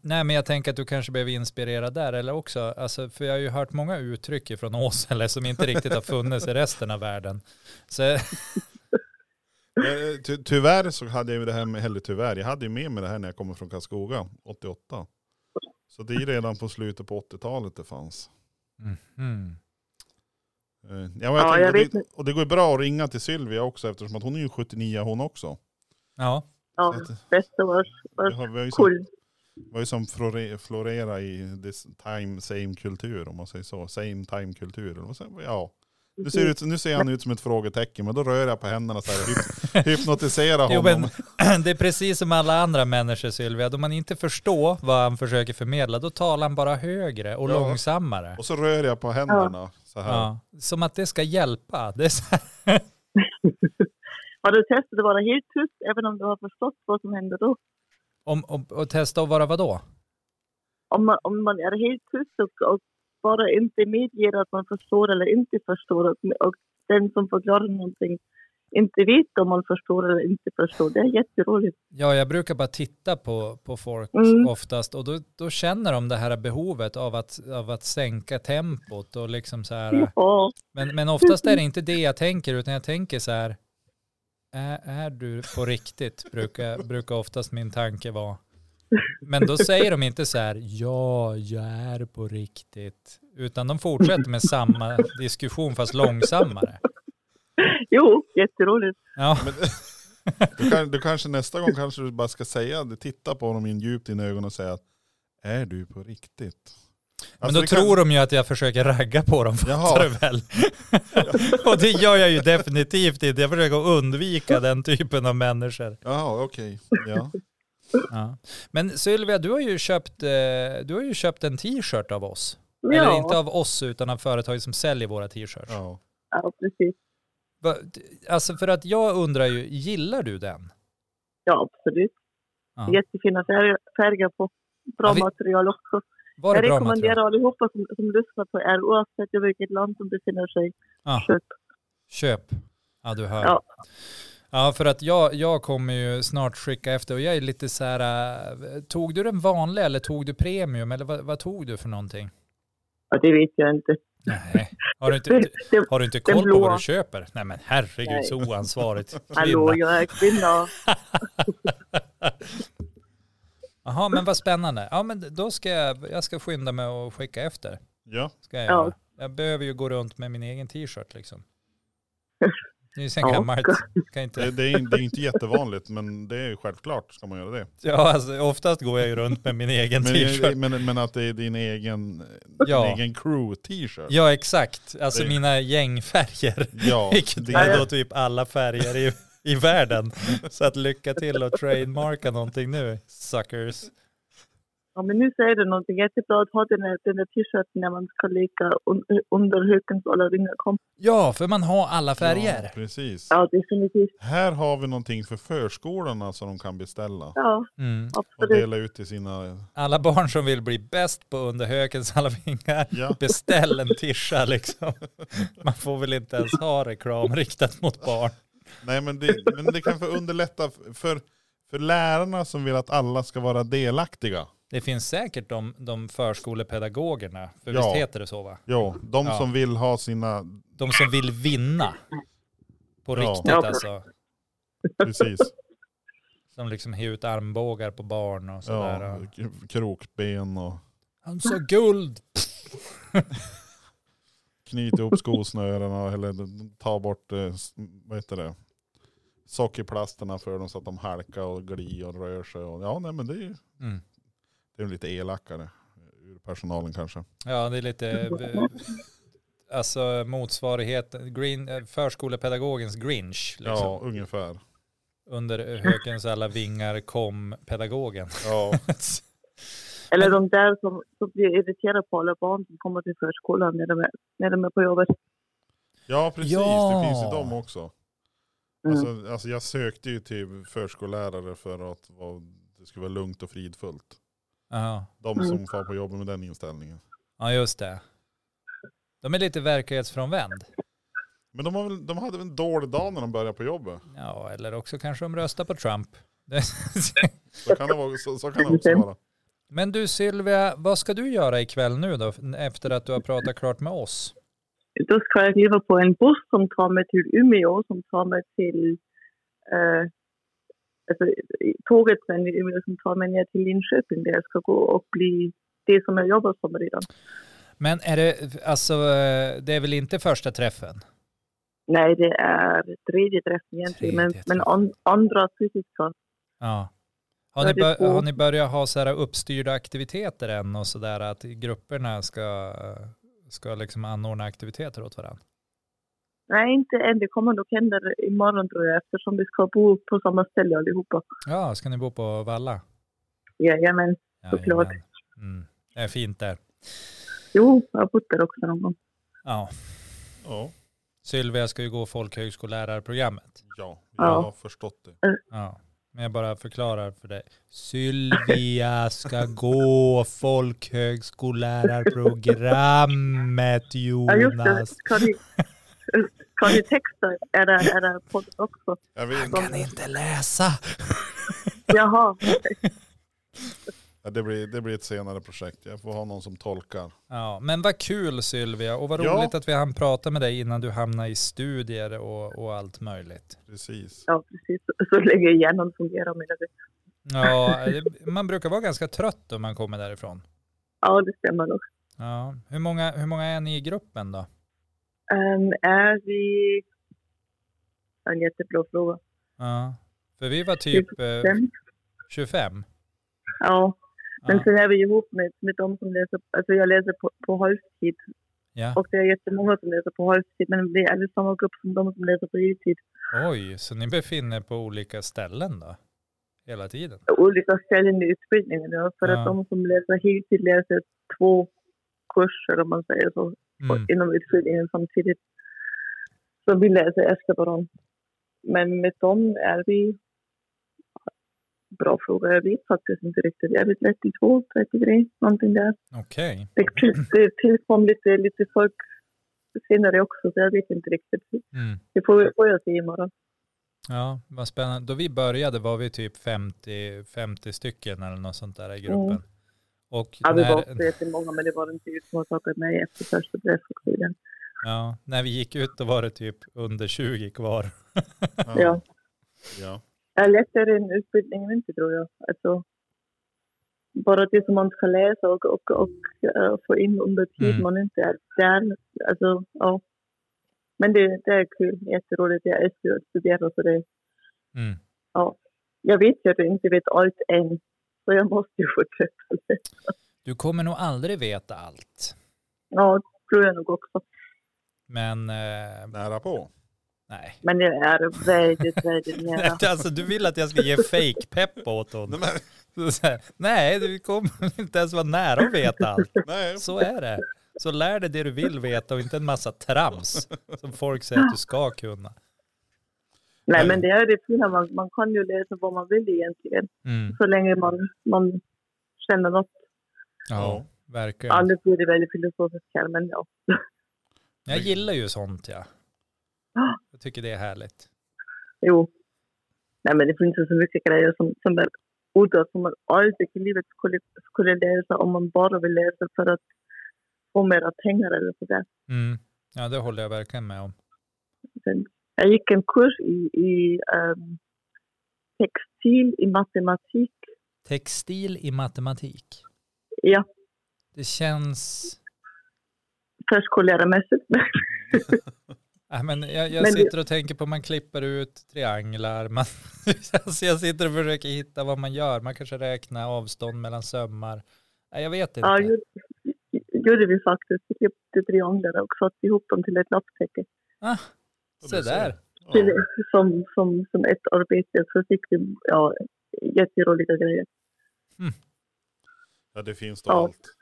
Nej, men jag tänker att du kanske blev inspirerad där eller också. Alltså, för jag har ju hört många uttryck från Åsele som inte riktigt har funnits i resten av världen. Så, Eh, Ty, tyvärr så hade jag ju det här med, eller tyvärr, jag hade ju med mig det här när jag kommer från Karlskoga 88. Så det är ju redan på slutet på 80-talet det fanns. Mhm. Eh, Ja, men jag Ja, tänkte jag vet det, och det går ju bra att ringa till Sylvia också eftersom att hon är ju 79 hon också. Ja, ja, Så att bästa var Vi har, vi har ju som, cool. vi har ju som flore- florera i this time same kultur om man säger så. Same time kultur. eller vad säger- Ja. Nu ser, ut, nu ser han ut som ett frågetecken men då rör jag på händerna så här och hyp, hypnotiserar jo, honom. men det är precis som alla andra människor Sylvia. Då man inte förstår vad han försöker förmedla, då talar han bara högre och Ja. långsammare. Och så rör jag på händerna så här. Ja. Som att det ska hjälpa. Det är så här, Har du testat att vara helt tyst även om du har förstått vad som hände då? om, om, och testa att vara vadå? om man, om man är helt tyst och, och bara inte medger att man förstår eller inte förstår och, och den som förklarar någonting inte vet om man förstår eller inte förstår. Det är jätteroligt. Ja, jag brukar bara titta på, på folk Mm. oftast och då, då känner de det här behovet av att, av att sänka tempot och liksom så Mm. här. Ja, Men, men oftast är det inte det jag tänker utan jag tänker så här. Är, är du på riktigt? Brukar, brukar oftast min tanke vara. Men då säger de inte så här, ja, jag är på riktigt. Utan de fortsätter med samma diskussion fast långsammare. jo, jätteroligt. Ja, Men, du, kan, du kanske nästa gång kanske du bara ska säga, titta på honom in djupt i dina ögon och säga att är du på riktigt? Men då tror de ju att jag försöker ragga på dem, fattar Alltså, Jaha. du väl? och det gör jag ju definitivt inte. Jag försöker undvika den typen av människor. Jaha, okej. Ja. Ja. Men Sylvia, du har ju köpt, eh, du har ju köpt en t-shirt av oss. Eller inte Ja, av oss, utan av företag som säljer våra t-shirts. ja. ja, precis. Va- Alltså för att jag undrar ju, gillar du den? Ja, absolut. Ja. Jättefina färger, färger på. Bra Ja, vi- material också. Var det jag bra rekommenderar material? allihopa som, som lyssnar på er, oavsett i vilket land de befinner sig, Ja. köp. Köp. Ja, du hör. Ja. Ja. för att jag, jag kommer ju snart skicka efter och jag är lite så här, eh, tog du den vanliga eller tog du premium eller vad, vad tog du för någonting? Ja, det vet jag inte. Nej, har du Alltså, inte, Det, det, har du inte Den koll på vad blåa. du köper? Nej men herregud Nej. så oansvarigt. hallå, Kvinna. jag är kvinna. Jaha, men vad spännande. Ja men då ska jag, jag ska skynda mig och skicka efter. ja. Ska jag, Ja. göra. jag behöver ju gå runt med min egen t-shirt liksom. Det är ju sen Ja. gammalt. Kan inte... Det, det, är, det är inte jättevanligt men det är ju självklart ska man göra det. Ja, alltså, oftast går jag ju runt med min egen t-shirt. Men, men, men att det är din egen, Ja. din egen crew-t-shirt. Ja, exakt. Alltså Det- mina gängfärger. Ja, Vilket det- är då typ alla färger i, i världen. Så att lycka till och trademarka någonting nu, suckers. Ja, men nu säger du någonting jättebra att ha den här, den här t-shirten när man ska leka un, under hökens alla ringar kom. Ja, för man har alla Ja, färger. precis. Ja, definitivt. Här har vi någonting för förskolorna som de kan beställa Ja, Mm. och absolut. dela ut till sina... Alla barn som vill bli bäst på under hökens alla vingar, Ja. beställ en tischa liksom. Man får väl inte ens ha reklam riktat mot barn. Nej men det, men det kan för underlätta för, för lärarna som vill att alla ska vara delaktiga. Det finns säkert de, de förskolepedagogerna, för Ja. visst heter det så va? Ja, de Ja. som vill ha sina... De som vill vinna. På Ja. riktigt Ja. alltså. Precis. Som liksom hyr ut armbågar på barn och sådär. Ja, k- krokben och Han sa guld! knyta ihop skosnörena eller ta bort eh, s- vad heter det, sockerplasterna för dem så att de halkar och glir och rör sig. Och, ja, nej, men det är ju Mm. det är ju lite elakare eh, ur personalen kanske. Ja, det är lite eh, alltså motsvarighet, green, eh, förskolepedagogens grinch. Liksom. Ja, ungefär. Under hökens alla vingar kom pedagogen. Ja, Eller de där som, som blir irriterade på alla barn som kommer till förskolan när de är, när de är på jobbet. ja precis. Ja. Det finns ju dem också. Mm. Alltså, alltså jag sökte ju till förskollärare för att vara, det skulle vara lugnt och fridfullt. Ja, De Mm. som far på jobbet med den inställningen. ja just det. De är lite verklighetsfrånvänd. Men de, har väl, de hade väl en dålig dag när de började på jobbet. Ja, eller också kanske de röstar på Trump. Så kan det, vara, så, så kan det också vara. Men du Sylvia, vad ska du göra ikväll nu då? Efter att du har pratat klart med oss? Då ska jag kliva på en buss som tar mig till Umeå, som tar mig till... Eh, alltså, i- tåget sen i Umeå som tar mig ner till Linköping där jag ska gå och bli det som jag jobbar som redan. Men är det, alltså, eh, det är väl inte första träffen? Nej, det är tredje träffen egentligen, men, Tredje men träffen. an, andra fysiska. Ja. Har Ja, ni, det är bör, två. har ni börjat ha så här uppstyrda aktiviteter än och sådär att grupperna ska, ska liksom anordna aktiviteter åt varandra? Nej, inte än. Det kommer nog hända imorgon tror jag eftersom vi ska bo på samma ställe allihopa. Ja, ska ni bo på Valla? Jajamän. Jajamän. Såklart. Mm. Det är fint där. Jo, jag har bott där också någon gång. Ja. Ja, Sylvia ska ju gå folkhögskollärarprogrammet. ja jag Ja. har förstått det. Ja. Men jag bara förklarar för dig. Sylvia ska gå folkhögskollärarprogrammet Ja, just det. Jonas. Kan ni, kan ni texta? Är det, är det podd också? Jag vet, Kan inte läsa. Jaha, ja, det, blir, det blir ett senare projekt. Jag får ha någon som tolkar. Ja, men vad kul Sylvia och vad Ja. roligt att vi hann prata med dig innan du hamnade i studier och, och allt möjligt. Precis. ja precis. Så länge hjärnan fungerar menar du. Ja, det- man brukar vara ganska trött om man kommer därifrån. Ja, det stämmer nog. Ja. Hur, många, hur många är ni i gruppen då? Ehm, är vi... Ja, En jättebra fråga. Ja. För vi var typ eh, Fem? 25. Ja. Men Ja. sen är vi ju ihop med, med de som läser, alltså jag läser på, på halvtid Ja. och det är jättemånga som läser på halvtid men vi är i samma grupp som de som läser på heltid. Oj, så ni befinner er på olika ställen då? Hela tiden? Olika ställen i utbildningen ja, för Ja. att de som läser heltid läser två kurser om man säger så på- Mm. inom utbildningen samtidigt. Så vi läser efter varandra. Men med dem är vi... Bra fråga, jag vet faktiskt inte riktigt. Jag är väl 32, 33, någonting där. Okej. Det, till- det tillkom lite, lite folk senare också, så jag vet inte riktigt. Mm. Det får, får jag se imorgon. Ja, vad spännande. Då vi började var vi typ 50, 50 stycken eller något sånt där i gruppen. Mm. Och Ja, vi var när, också jättemånga, men det var inte vi som har tagit mig efter första träffen. ja, när vi gick ut då var det typ under 20 kvar. Ja. ja. är lättare än utbildningen inte tror jag. Alltså, bara det som man ska läsa och, och, och eh, få in under tid Mm. man inte är där. Alltså, ja. Men det, det är kul, jätteroligt. Jag älskar att studera så det. Mm. Jag vet ju att jag inte vet allt än. Så jag måste ju fortsätta. Du kommer nog aldrig veta allt. Ja, tror jag nog också. Men eh, Nära på. nej. Men jag är väldigt, väldigt nära. Alltså du vill att jag ska ge fake-pepp åt honom. Nej, Så här, Nej, du kommer inte ens vara nära att veta allt. men, nej. Så är det. Så lär dig det du vill veta och inte en massa trams som folk säger att du ska kunna. Nej, men det är det fina. Man, man kan ju läsa vad man vill egentligen. Mm. Så länge man, man känner något. Ja, Ja. verkligen. Annars blir det väldigt filosofiskt här, men ja. Jag gillar ju sånt ja. Ah. Jag tycker det är härligt. Jo. Nej, men det finns ju så mycket grejer som, som är udda som man aldrig i livet skulle, skulle läsa om man bara vill läsa för att få mera pengar eller sådär. Mm. Ja, det håller jag verkligen med om. Jag gick en kurs i, i ehm, textil i matematik. Textil i matematik. Ja, Det känns... förskollärarmässigt. Äh, men jag jag Men det- sitter och tänker på man klipper ut trianglar. Man, alltså jag sitter och försöker hitta vad man gör. Man kanske räknar avstånd mellan sömmar. Nej, jag vet inte. ja, gjorde, gjorde vi faktiskt. Vi klippte trianglar och satte ihop dem till ett lapptäcke. ah, se där. Ja. Till, som, som, som ett arbete. Så fick vi ja, jätteroliga grejer. Ja, det finns då Ja. allt.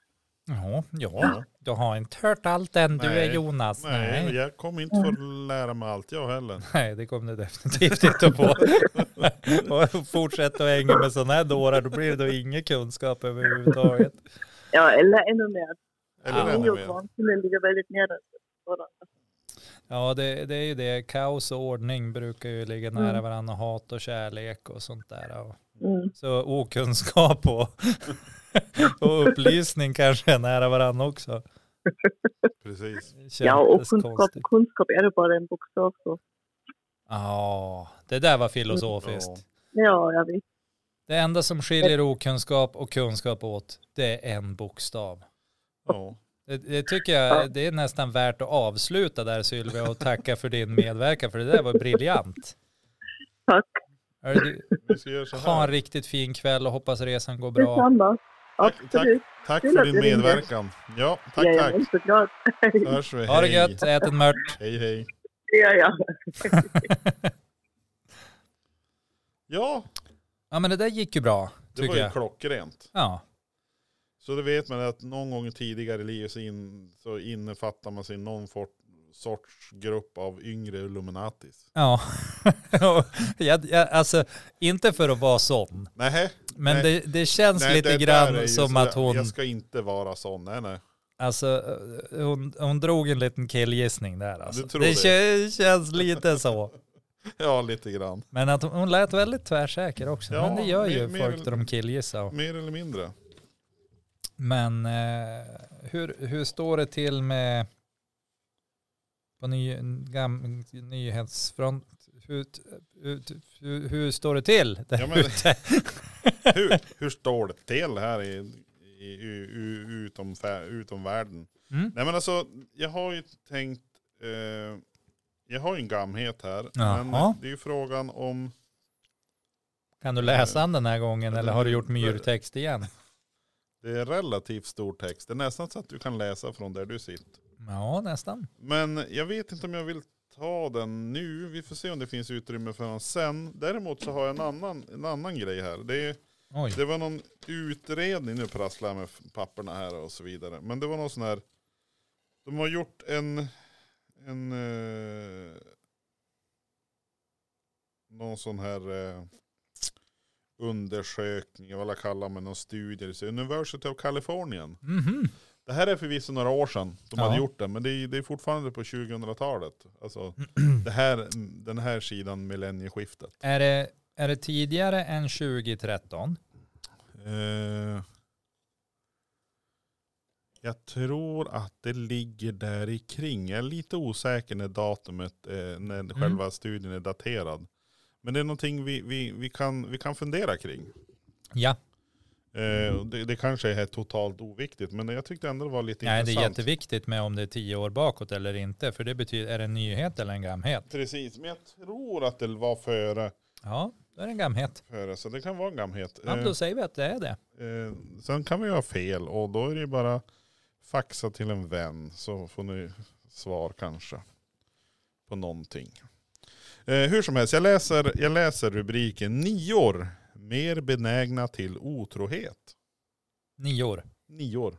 Jaha, ja, Ja. du har inte hört allt än du är Nej. Jonas. Nej, Nej, jag kommer inte få lära mig allt jag heller. Nej det kommer du definitivt inte på. och fortsätter att hänga med sådana här dårar, då blir det då ingen kunskap överhuvudtaget. Ja, eller ännu mer. Eller Ja. ännu Nio mer. barnkullar ligger väldigt nära varandra. Ja, det, det är ju det. Kaos och ordning brukar ju ligga Mm. nära varandra, hat och kärlek och sånt där. Och, Mm. så okunskap och, och upplysning kanske är nära varandra också. Precis. Det Ja, och kändes kunskap, konstigt. kunskap är bara en bokstav. Så. Ja, det där var filosofiskt. Ja. Ja, jag vet. Det enda som skiljer okunskap och kunskap åt, det är en bokstav. Ja. Det, det tycker Ja. jag, det är nästan värt att avsluta där Sylvia och tacka för din medverkan, för det där var briljant. Tack. Hörru, du, Vi ska göra så Ha en här. riktigt fin kväll och hoppas resan går bra. Detsamma. Tack, Absolut. Tack Kul för att din du ringde. medverkan. Ja, tack, jag tack. är så glad. Hörs vi. Ha det Hej. gött, ät en mört. Hej, hej. Ja, ja. Ja, Ja men det där gick ju bra, det var tycker ju jag. klockrent. Ja, Så det vet man att någon gång tidigare i livet så, in, så innefattar man sig i någon for, sorts grupp av yngre Illuminatis. ja. jag, jag, alltså, inte för att vara sån, Nej, men Nej. det, det känns nej, lite det där är ju grann som sådär. att hon, Jag ska inte vara sån. Nej, nej. alltså, eh, hon, hon drog en liten killgissning där. Alltså. Du tror det det. kän- känns lite så. Ja, lite grann. Men att hon, hon lät väldigt tvärsäker också. Ja, men det gör ju mer- Mm. mer- folk när de killgissar. och- Mer eller mindre. Men eh, hur, hur står det till med på ny, gam, nyhetsfront? Hur, ut, hur, hur står det till där Ja, men- ute? Hur, hur står det till här i, i, i, utom, utom världen? Mm? Nej men alltså, jag har ju tänkt, eh, jag har ju en gamhet här. Jaha. Men det är ju frågan om, Kan du läsa den den här gången eller har du gjort myrtext igen? Det är relativt stor text. Det är nästan så att du kan läsa från där du sitter. Ja, nästan. Men jag vet inte om jag vill ta den nu. Vi får se om det finns utrymme för den sen. Däremot så har jag en annan, en annan grej här. Det, är, Oj. det var någon utredning, nu prasslar jag med papperna här och så vidare. Men det var någon sån här, de har gjort en, en eh, någon sån här eh, undersökning, vad jag kallar man någon studie, så University of Californien. Mhm. Det här är förvisso några år sedan de Ja. hade gjort det, men det är, det är fortfarande på 2000-talet. Alltså, det här, den här sidan millennieskiftet. Är, det, är det tidigare än 2013? Eh, jag tror att det ligger där i kring. Jag är lite osäker när datumet, eh, när Mm. själva studien är daterad. Men det är någonting vi, vi, vi, kan, vi kan fundera kring. Ja, Eh, och det, det kanske är totalt oviktigt, men jag tyckte ändå det var lite Nej, det är intressant. jätteviktigt med om det är tio år bakåt eller inte. För det betyder, är det en nyhet eller en gamhet? Precis, men jag tror att det var före. Ja, då är det en gamhet. före, så det kan vara en gamhet. Ja, Eh, då säger vi att det är det. eh, sen kan vi ha fel och då är det ju bara faxa till en vän så får ni svar kanske på någonting. Eh, hur som helst, jag läser, jag läser rubriken Nior, mer benägna till otrohet. Nio år. Nior.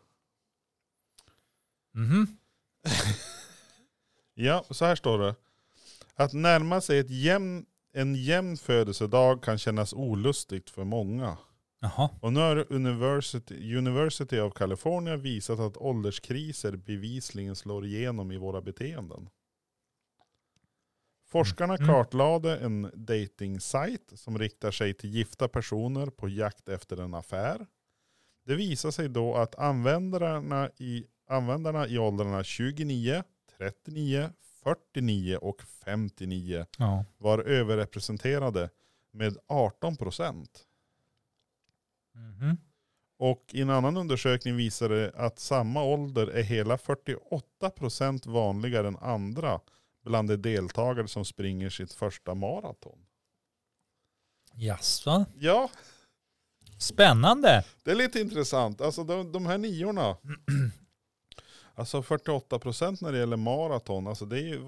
Mhm. Ja, så här står det. Att närma sig ett jämn, en jämn födelsedag kan kännas olustigt för många. Jaha. Och nu har University, University of California visat att ålderskriser bevisligen slår igenom i våra beteenden. Forskarna Mm. kartlade en dating-sajt som riktar sig till gifta personer på jakt efter en affär. Det visar sig då att användarna i, användarna i åldrarna 29, 39, 49 och 59 Ja. var överrepresenterade med 18 procent. Mhm. Och i en annan undersökning visade det att samma ålder är hela 48% vanligare än andra bland de deltagare som springer sitt första maraton. Jaså? Ja, Spännande. det är lite intressant. Alltså de, de här niorna. Alltså 48% när det gäller maraton. Alltså det är ju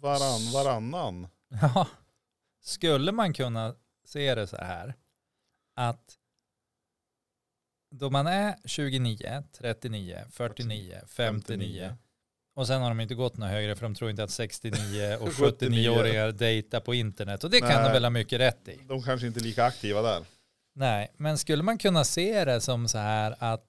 varann, varannan. Ja. Skulle man kunna se det så här att då man är 29, 39, 49, 59 och sen har de inte gått något högre för de tror inte att 69 och 79-åringar dejtar på internet och det kan Nej. de väl ha mycket rätt i. De kanske inte är lika aktiva där. Nej, men skulle man kunna se det som så här att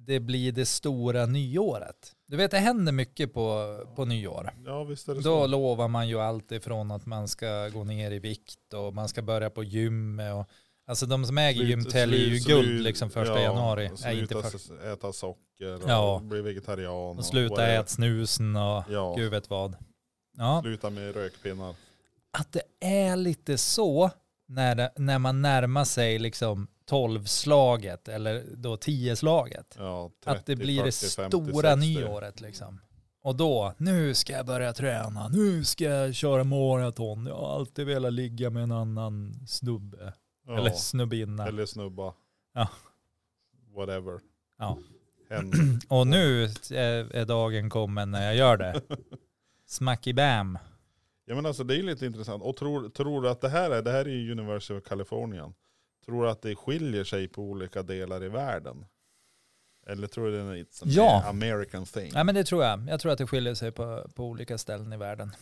det blir det stora nyåret? Du vet, det händer mycket på, på nyår. Ja visst är det Då så. lovar man ju allt ifrån att man ska gå ner i vikt och man ska börja på gymmet. Och, alltså de som äger Slut- gymtälj är ju slut- guld slut- liksom första ja, januari. Sluta Nej, inte först. äta socker och Ja. bli vegetarian. Och sluta whatever. äta snusen och Ja. gud vet vad. Ja, Sluta med rökpinnar. att det är lite så när, det, när man närmar sig liksom 12-slaget eller då 10-slaget. Ja, 30, att det blir 40, det 50, stora 60. nyåret liksom. Och då, nu ska jag börja träna, nu ska jag köra maraton, jag har alltid velat ligga med en annan snubbe. Ja, Eller snubbinna. eller snubba. Ja. Whatever. Ja. Händer. Och nu eh, är är dagen kommen när jag gör det. Smacky bam. Ja men alltså det är ju lite intressant. Och tror, tror du att det här är, det här är ju University of California. Tror du att det skiljer sig på olika delar i världen? Eller tror du det är en sån Ja. här American thing? Ja men det tror jag. Jag tror att det skiljer sig på, på olika ställen i världen.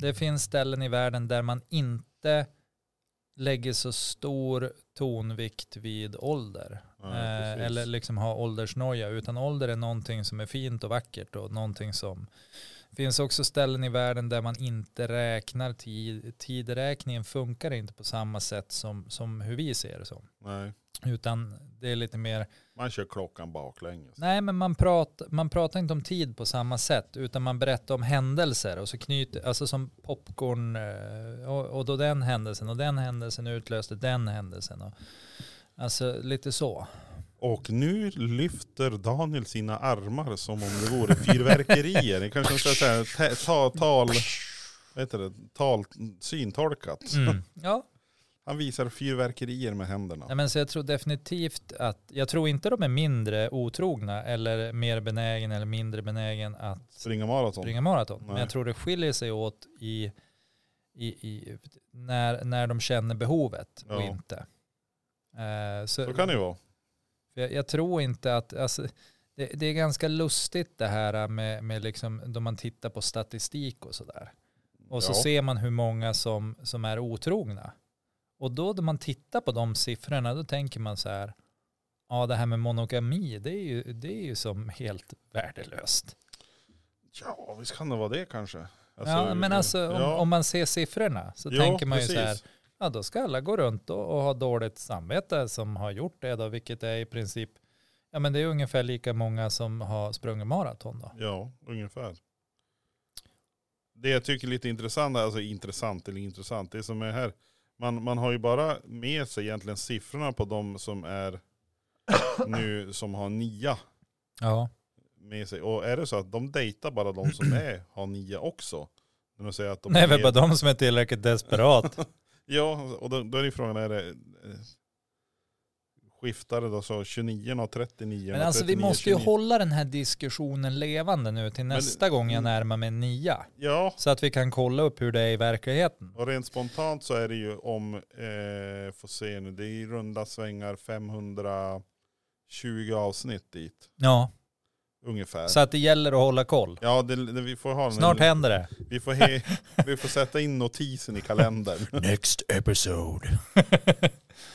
Det finns ställen i världen där man inte lägger så stor tonvikt vid ålder. Ja, Eh, precis. eller liksom ha åldersnoja. Utan ålder är någonting som är fint och vackert och någonting som finns också ställen i världen där man inte räknar tid. Tideräkningen funkar inte på samma sätt som, som hur vi ser det som. Nej, Utan det är lite mer, man kör klockan baklänges. nej men man, prat, man pratar inte om tid på samma sätt utan man berättar om händelser och så knyter, alltså som popcorn eh, och, och då den händelsen och den händelsen utlöste den händelsen. Och, alltså lite så. Och nu lyfter Daniel sina armar som om det vore fyrverkerier. Det kanske ska säga ta, ta, tal, vad heter det, tal, syntolkat. Mm. Ja, Han visar fyrverkerier med händerna. Nej, men så jag tror definitivt att, jag tror inte de är mindre otrogna eller mer benägen eller mindre benägen att Springa maraton. springa maraton. Men Nej. jag tror det skiljer sig åt i, i, i när, när de känner behovet och Ja. inte. Eh, Så kan det ju vara. för jag, jag tror inte att, alltså, det, det är ganska lustigt det här med, med liksom, då man tittar på statistik och sådär. Och så Ja. ser man hur många som, som är otrogna. Och då när man tittar på de siffrorna, då tänker man så här, ja det här med monogami, det är ju, det är ju som helt värdelöst. Ja, visst kan det vara det kanske. ja, men alltså om, eh, ja. om man ser siffrorna så Ja, tänker man ju så här, precis. ja då ska alla gå runt och, och ha dåligt samvete som har gjort det då, vilket är i princip, ja men det är ungefär lika många som har sprungit maraton då. Ja, ungefär. Det jag tycker är lite intressant, alltså intressant eller intressant, det som är här, man, man har ju bara med sig egentligen siffrorna på de som är nu som har nia Ja, med sig. Och är det så att de dejtar bara de som är, har nia också? När de säger att de nej är men bara de som är tillräckligt desperat. Ja, och då, då är det frågan, är det eh, skiftare då så 29 och 39 Men alltså vi måste ju hålla den här diskussionen levande nu till nästa gång jag Mm. närmar mig nia. Ja, Så att vi kan kolla upp hur det är i verkligheten. Och rent spontant så är det ju om, eh, får se nu, det är i runda svängar 520 avsnitt dit. Ja, Ungefär. så att det gäller att hålla koll. Ja, det, det, vi får ha den- Snart händer det. vi, får he, vi får sätta in notisen i kalendern. Next episode.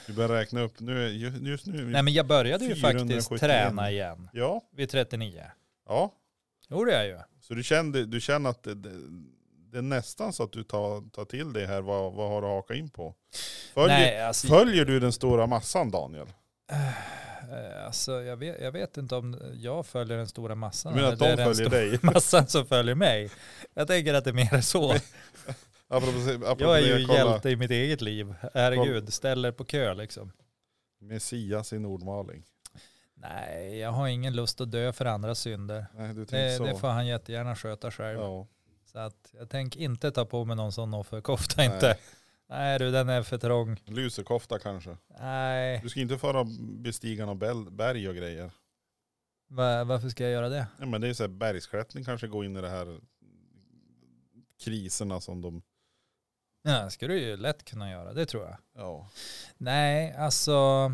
Vi börjar räkna upp nu, är- ju- just nu. är vi- Nej men jag började ju faktiskt 471. träna igen Ja, vid 39. ja. gjorde jag ju. Så du känner, du känner att det, det, det är nästan så att du tar, tar till dig här, vad, vad har du hakat in på? Följer, Nej, alltså, följer du den stora massan Daniel? eh, alltså jag, vet, jag vet inte om jag följer den stora Du massan. menar eller att det är de den följer stora dig? massan som följer mig. Jag tänker att det är mer så. Apropå, apropå Jag är det, ju kolla. hjälte i mitt eget liv. Herregud, ställer på kö liksom. Messias i Nordmaling. Nej, jag har ingen lust att dö för andra synder. Nej, du tänker Eh, Det, så. det får han jättegärna sköta själv. ja. Så att jag tänker inte ta på mig någon sån offerkofta Nej. inte. Nej du, den är för trång. Lusekofta kanske. Nej, Du ska inte föra bestiga någon bäl- berg och grejer. Va, varför ska jag göra det? Ja, men det är så här, bergsklättring kanske går in i det här kriserna som de... Ja, det skulle du ju lätt kunna göra, det tror jag. Ja. Nej, alltså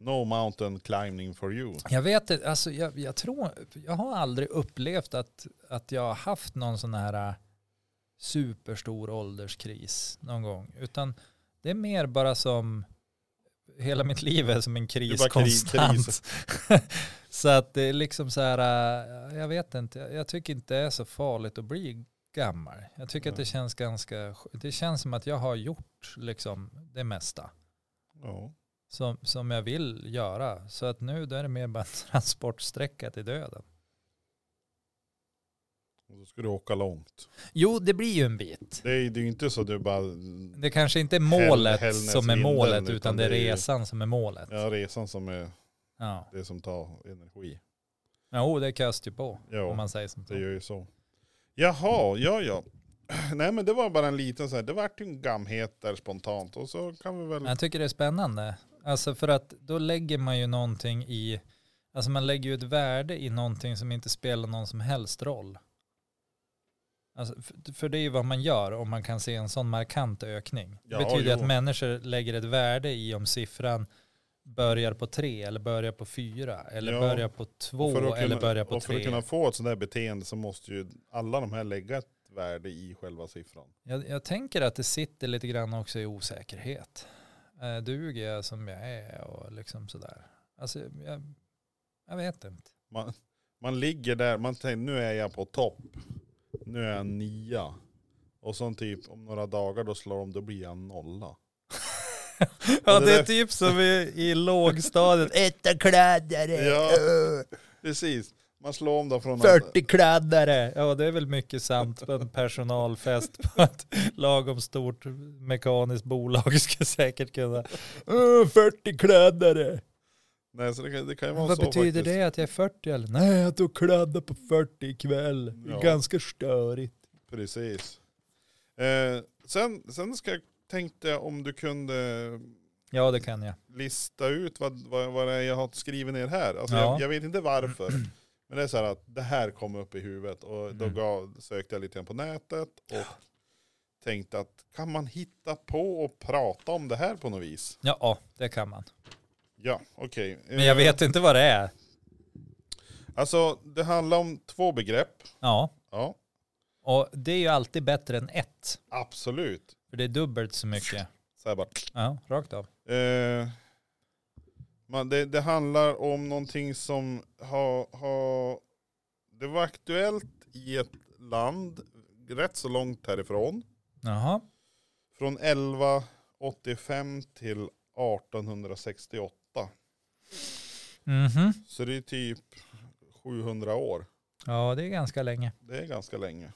No mountain climbing for you. jag vet inte, alltså jag, jag tror, jag har aldrig upplevt att, att jag har haft någon sån här äh, superstor ålderskris någon gång, utan det är mer bara som hela mitt liv är som en Det är kris bara kri- konstant. kris. så att det är liksom så här, äh, jag vet inte, jag, jag tycker inte det är så farligt att bli gammal. Jag tycker att det Nej. känns ganska, sk- det känns som att jag har gjort liksom det mesta Ja. som, som jag vill göra. Så att nu då är det mer bara en transportsträcka till döden. Och då ska du åka långt. Jo, det blir ju en bit. Det är det är ju inte så du bara... Det kanske inte är målet Häll- som är målet, utan, Hällnäsvinden, utan det är det är ju- resan som är målet. Ja. Ja, resan som är Ja. det som tar energi. Jo, det kastar ju på, Ja. om man säger som Det så. gör ju så. Jaha, ja ja. Nej men det var bara en liten så här, det vart ju en gamhet där spontant och så kan vi väl... Jag tycker det är spännande. Alltså för att då lägger man ju någonting i, alltså man lägger ju ett värde i någonting som inte spelar någon som helst roll. Alltså, för- för det är ju vad man gör om man kan se en sån markant ökning. Det Ja, betyder jo. att människor lägger ett värde i om siffran börjar på tre eller börjar på fyra eller Ja. börjar på Och två för att eller kunna- börjar på Och för att tre. kunna få ett sånt där beteende så måste ju alla de här lägga ett värde i själva siffran. Jag, jag tänker att det sitter lite grann också i osäkerhet. Eh, duger jag som jag är och liksom sådär. Alltså jag, jag vet inte. Man, man ligger där, man tänker nu är jag på topp, nu är jag nia. Och så typ om några dagar då slår de, då blir jag en nolla. Ja det det är där- typ som i, i lågstadiet, etta kladdare, Ja. eh. Precis, man slår om då från... 40 kladdare. Ja det är väl mycket sant på en personalfest på ett lagom stort mekaniskt bolag skulle säkert kunna, "Åh, 40 kladdare. Nej så det kan, det kan ju vara Vad så betyder faktiskt. det att jag är 40 eller? Nej att du kladdar på 40 ikväll, Det är Ja. ganska störigt. Precis. Eh, sen, sen ska jag tänkte om du kunde Ja, det kan jag. lista ut vad, vad, vad det är jag har skrivit ner här. Alltså Ja. jag, jag vet inte varför. Men det är så här att det här kom upp i huvudet och då Mm. gav, sökte jag lite grann på nätet och tänkte att kan man hitta på och prata om det här på något vis? Ja, det kan man. Ja, okej. Men jag Eh, vet inte vad det är. Alltså det handlar om två begrepp. Ja, Ja, och det är ju alltid bättre än ett. absolut. För det är dubbelt så mycket. Så här bara. Ja, rakt av. Eh, man, det, det handlar om någonting som har, har... Det var aktuellt i ett land rätt så långt härifrån. Jaha, Från 1185 till 1868. mhm. Så det är typ 700 år. Ja, det är ganska länge. Det är ganska länge.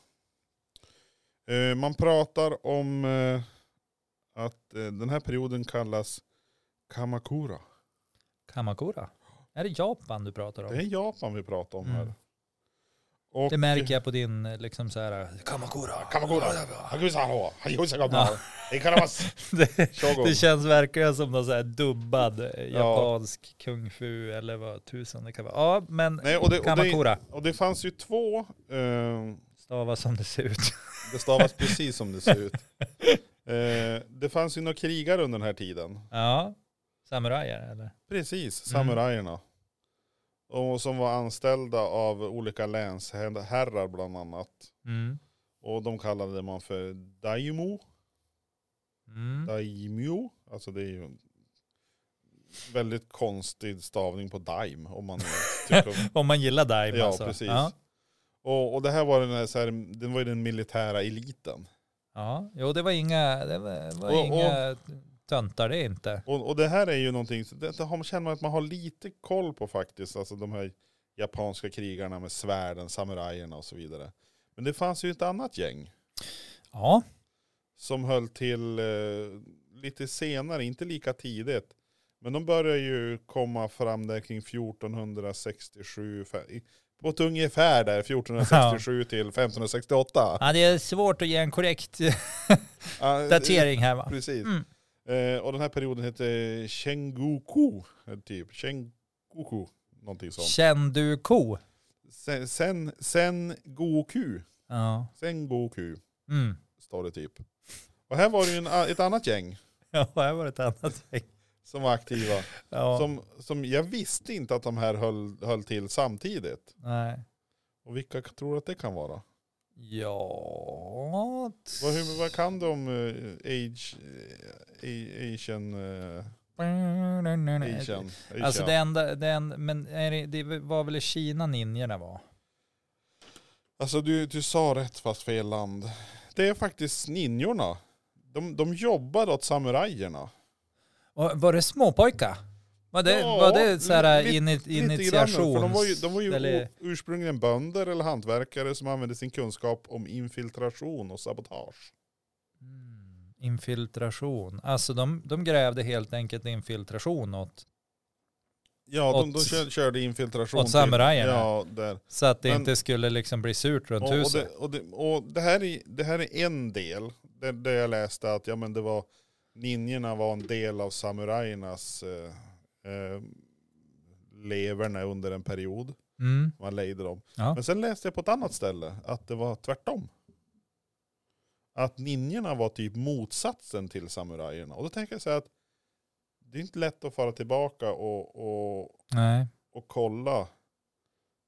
Eh, man pratar om eh, att eh, den här perioden kallas Kamakura. Kamakura. Är det Japan du pratar om? Det är Japan vi pratar om Mm. här. Och, Det märker jag på din eh, liksom så här, Kamakura. Kamakura. Hakusaro. Hakusagama. Ja. Ikaramas. Det, Shogun. det känns verkligen som någon så här dubbad eh, Ja. japansk kung fu eller vad tusan det kan vara. Ja, men Nej, och det, och, det, Kamakura och det fanns ju två, eh, stavas som det ser ut. det stavas precis som det ser ut. Eh, det fanns ju några krigare under den här tiden. Ja, samurajer eller? Precis, Mm. samurajerna. Och som var anställda av olika länsherrar bland annat. Mm. Och de kallade man för daimo, Mm. daimyo. Alltså det är ju en väldigt konstig stavning på daim om man tycker om Om man gillar daim Ja, alltså. precis. Ja, Och, och det här var den, här, så här, den var ju den militära eliten. ja. Jo, det var inga, det var, var Och- inga töntar det inte. Och, och det här är ju någonting, så det, det har, känner man att man har lite koll på faktiskt. Alltså de här japanska krigarna med svärden, samurajerna och så vidare. Men det fanns ju ett annat gäng Ja, som höll till eh, lite senare, inte lika tidigt. Men de började ju komma fram där kring 1467, fe- i- på ett ungefär där, 1467 till 1568. ja det är svårt att ge en korrekt Ah, det- datering här va? Eh, Precis. Mm. Eh, och den här perioden hette Sengoku, eh, typ. Sengoku, någonting sånt. Känn du ko? Sen, sen, Sengoku, Ja. Sengoku Mm. står det typ. Och här var det ju en, a- ett annat gäng Ja, här var det ett annat gäng. som var aktiva. Ja, Som, som jag visste inte att de här höll, höll till samtidigt. nej. Och vilka tror du att det kan vara? Ja. t- Vad, hur, vad kan de eh, age, eh, a- Asian, eh, Asian, Asian? Alltså det enda, det enda men är det, det var väl i Kina ninjerna var? Alltså du, du sa rätt fast fel land. Det är faktiskt ninjorna. De, de jobbar åt samurajerna. Och var det småpojkar? Var det, Ja, var det så här li- ini, Lite grann, för de var ju, initiations... de var ju eller- o- ursprungligen bönder eller hantverkare som använde sin kunskap om infiltration och sabotage. Mm, infiltration. Alltså de, de grävde helt enkelt infiltration åt, Ja, de, Åt- de kör, körde infiltration. åt till- samurajerna. Ja, där. så att det Men- inte skulle liksom bli surt runt Och, och, huset. det, och, det, och det, här är, det här är en del. Där, där jag läste att ja, men det var, ninjorna var en del av samurajernas eh, eh, leverne under en period. Mm. Man lejde dem. Ja. Men sen läste jag på ett annat ställe att det var tvärtom. Att ninjorna var typ motsatsen till samurajerna. Och då tänker jag så här att det är inte lätt att fara tillbaka och, och, Nej. och kolla.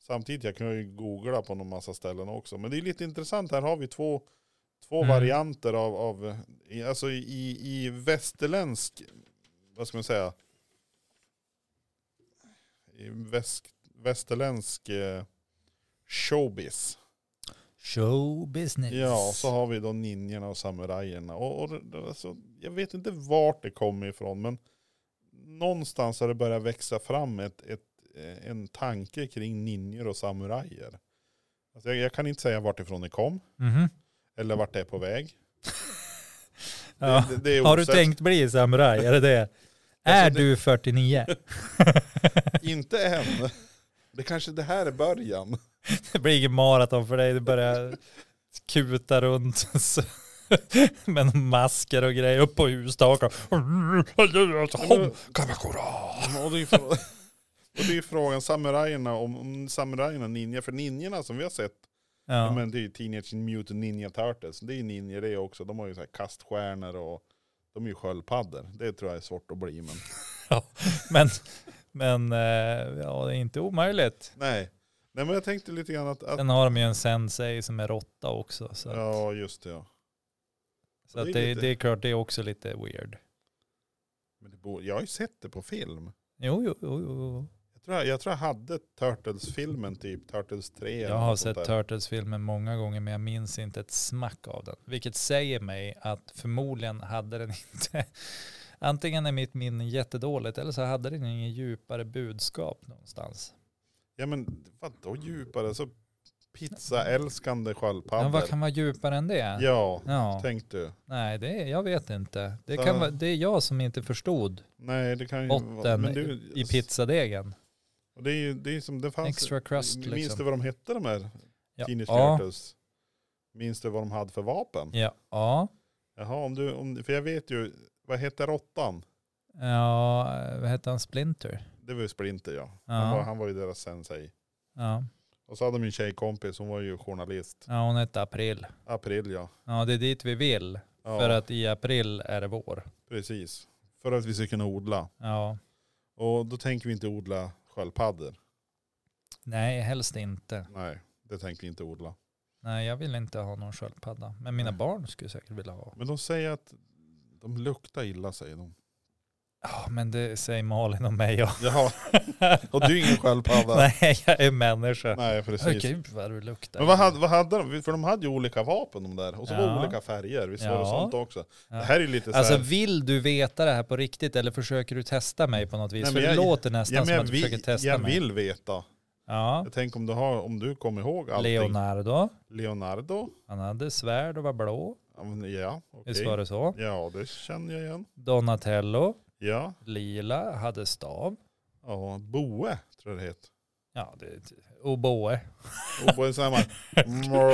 Samtidigt, jag kan ju googla på någon massa ställen också. Men det är lite intressant, här har vi två, två Mm. varianter av, av i- alltså i, i västerländsk, vad ska man säga, i väst, västerländsk eh, showbiz. Show business. Ja, så har vi då ninjorna och samurajerna. Och, och det- alltså, jag vet inte vart det kommer ifrån, men någonstans har det börjat växa fram ett, ett, eh, en tanke kring ninjor och samurajer. Alltså, jag, jag kan inte säga vart ifrån det kom, Mhm. eller vart det är på väg. Ja. Det, det, det är Har du osett. tänkt bli samuraj? Är det det? Är Alltså, det- du 49? Inte än. Det kanske det här är början. Det blir ingen maraton för dig. Du börjar kuta runt. Så Men masker och grejer upp på hustak. Kamakura. Och det är, frå- och det är frågan samurajerna om, om samurajerna och ninja. För ninjorna som vi har sett. Ja. Ja. Men det är ju Teenage Mutant Ninja Turtles. Det är ju ninjor det också. De har ju så här kaststjärnor och de är ju sköldpaddor. Det tror jag är svårt att bli. Men Men, men eh, ja, det är inte omöjligt. nej. Nej men jag tänkte lite grann att, att Sen har de ju en sensei som är råtta också. Så, ja just det ja. så att det är det, lite- det är klart, det är också lite weird. Men det borde, jag har ju sett det på film. Jo, jo, jo. jo. Jag tror jag, jag, tror jag hade Turtles-filmen typ, Turtles 3. eller Jag har något sånt sett där. Turtles-filmen många gånger men jag minns inte ett smack av den. Vilket säger mig att förmodligen hade den inte, antingen är mitt minne jättedåligt eller så hade den ingen djupare budskap någonstans. Ja men vadå djupare? Så pizzaälskande sköldpaddor. Ja, vad kan vara djupare än det? Ja, Ja, tänkte du. nej det, jag vet inte. Det, Så- kan vara, det är jag som inte förstod Nej det kan ju vara- botten men du- i pizzadegen. Och det är ju det är som det fanns. Extra crust, Minns liksom. du vad de hette de här Ja, Teenage ja, Turtles? Minns du vad de hade för vapen? ja, ja, Jaha, om du, om, för jag vet ju, vad hette råttan? ja, vad hette han, Splinter? Det var ju Splinter ja. Han, var, Ja, han var ju deras sensei. ja, Och så hade de ju en tjejkompis, hon var ju journalist. ja hon hette April. April ja. Ja, det är dit vi vill. ja För att i april är det vår. Precis. För att vi ska kunna odla. Ja. Och då tänker vi inte odla sköldpaddor. Nej, helst inte. Nej, det tänker vi inte odla. Nej, jag vill inte ha någon sköldpadda. Men mina Nej. barn skulle säkert vilja ha. Men de säger att de luktar illa säger de. Ja, men det säger Malin om mig. Ja. Jaha, och du är ingen sköldpadda? Nej, jag är människa. Nej precis. Åh, Gud vad du luktar. Men vad hade, vad hade de? För de hade ju olika vapen de där. Och så var Ja. det olika färger. Visst var det Ja. sånt också? Ja. Det här är ju lite så Alltså här, vill du veta det här på riktigt eller försöker du testa mig på något vis? Nej, För men det jag- låter nästan ja, men som jag, att du försöker vill, testa jag mig. vill veta. Ja, Jag tänker om du, har, om du kommer ihåg allting. Leonardo. Leonardo? Han hade svärd och var blå. Ja, men ja okej. Visst var det så? Ja, det känner jag igen. Donatello. Ja, Lila hade stav. ja Boe tror jag det heter. Ja, det, Oboe. Och Boe är så här man-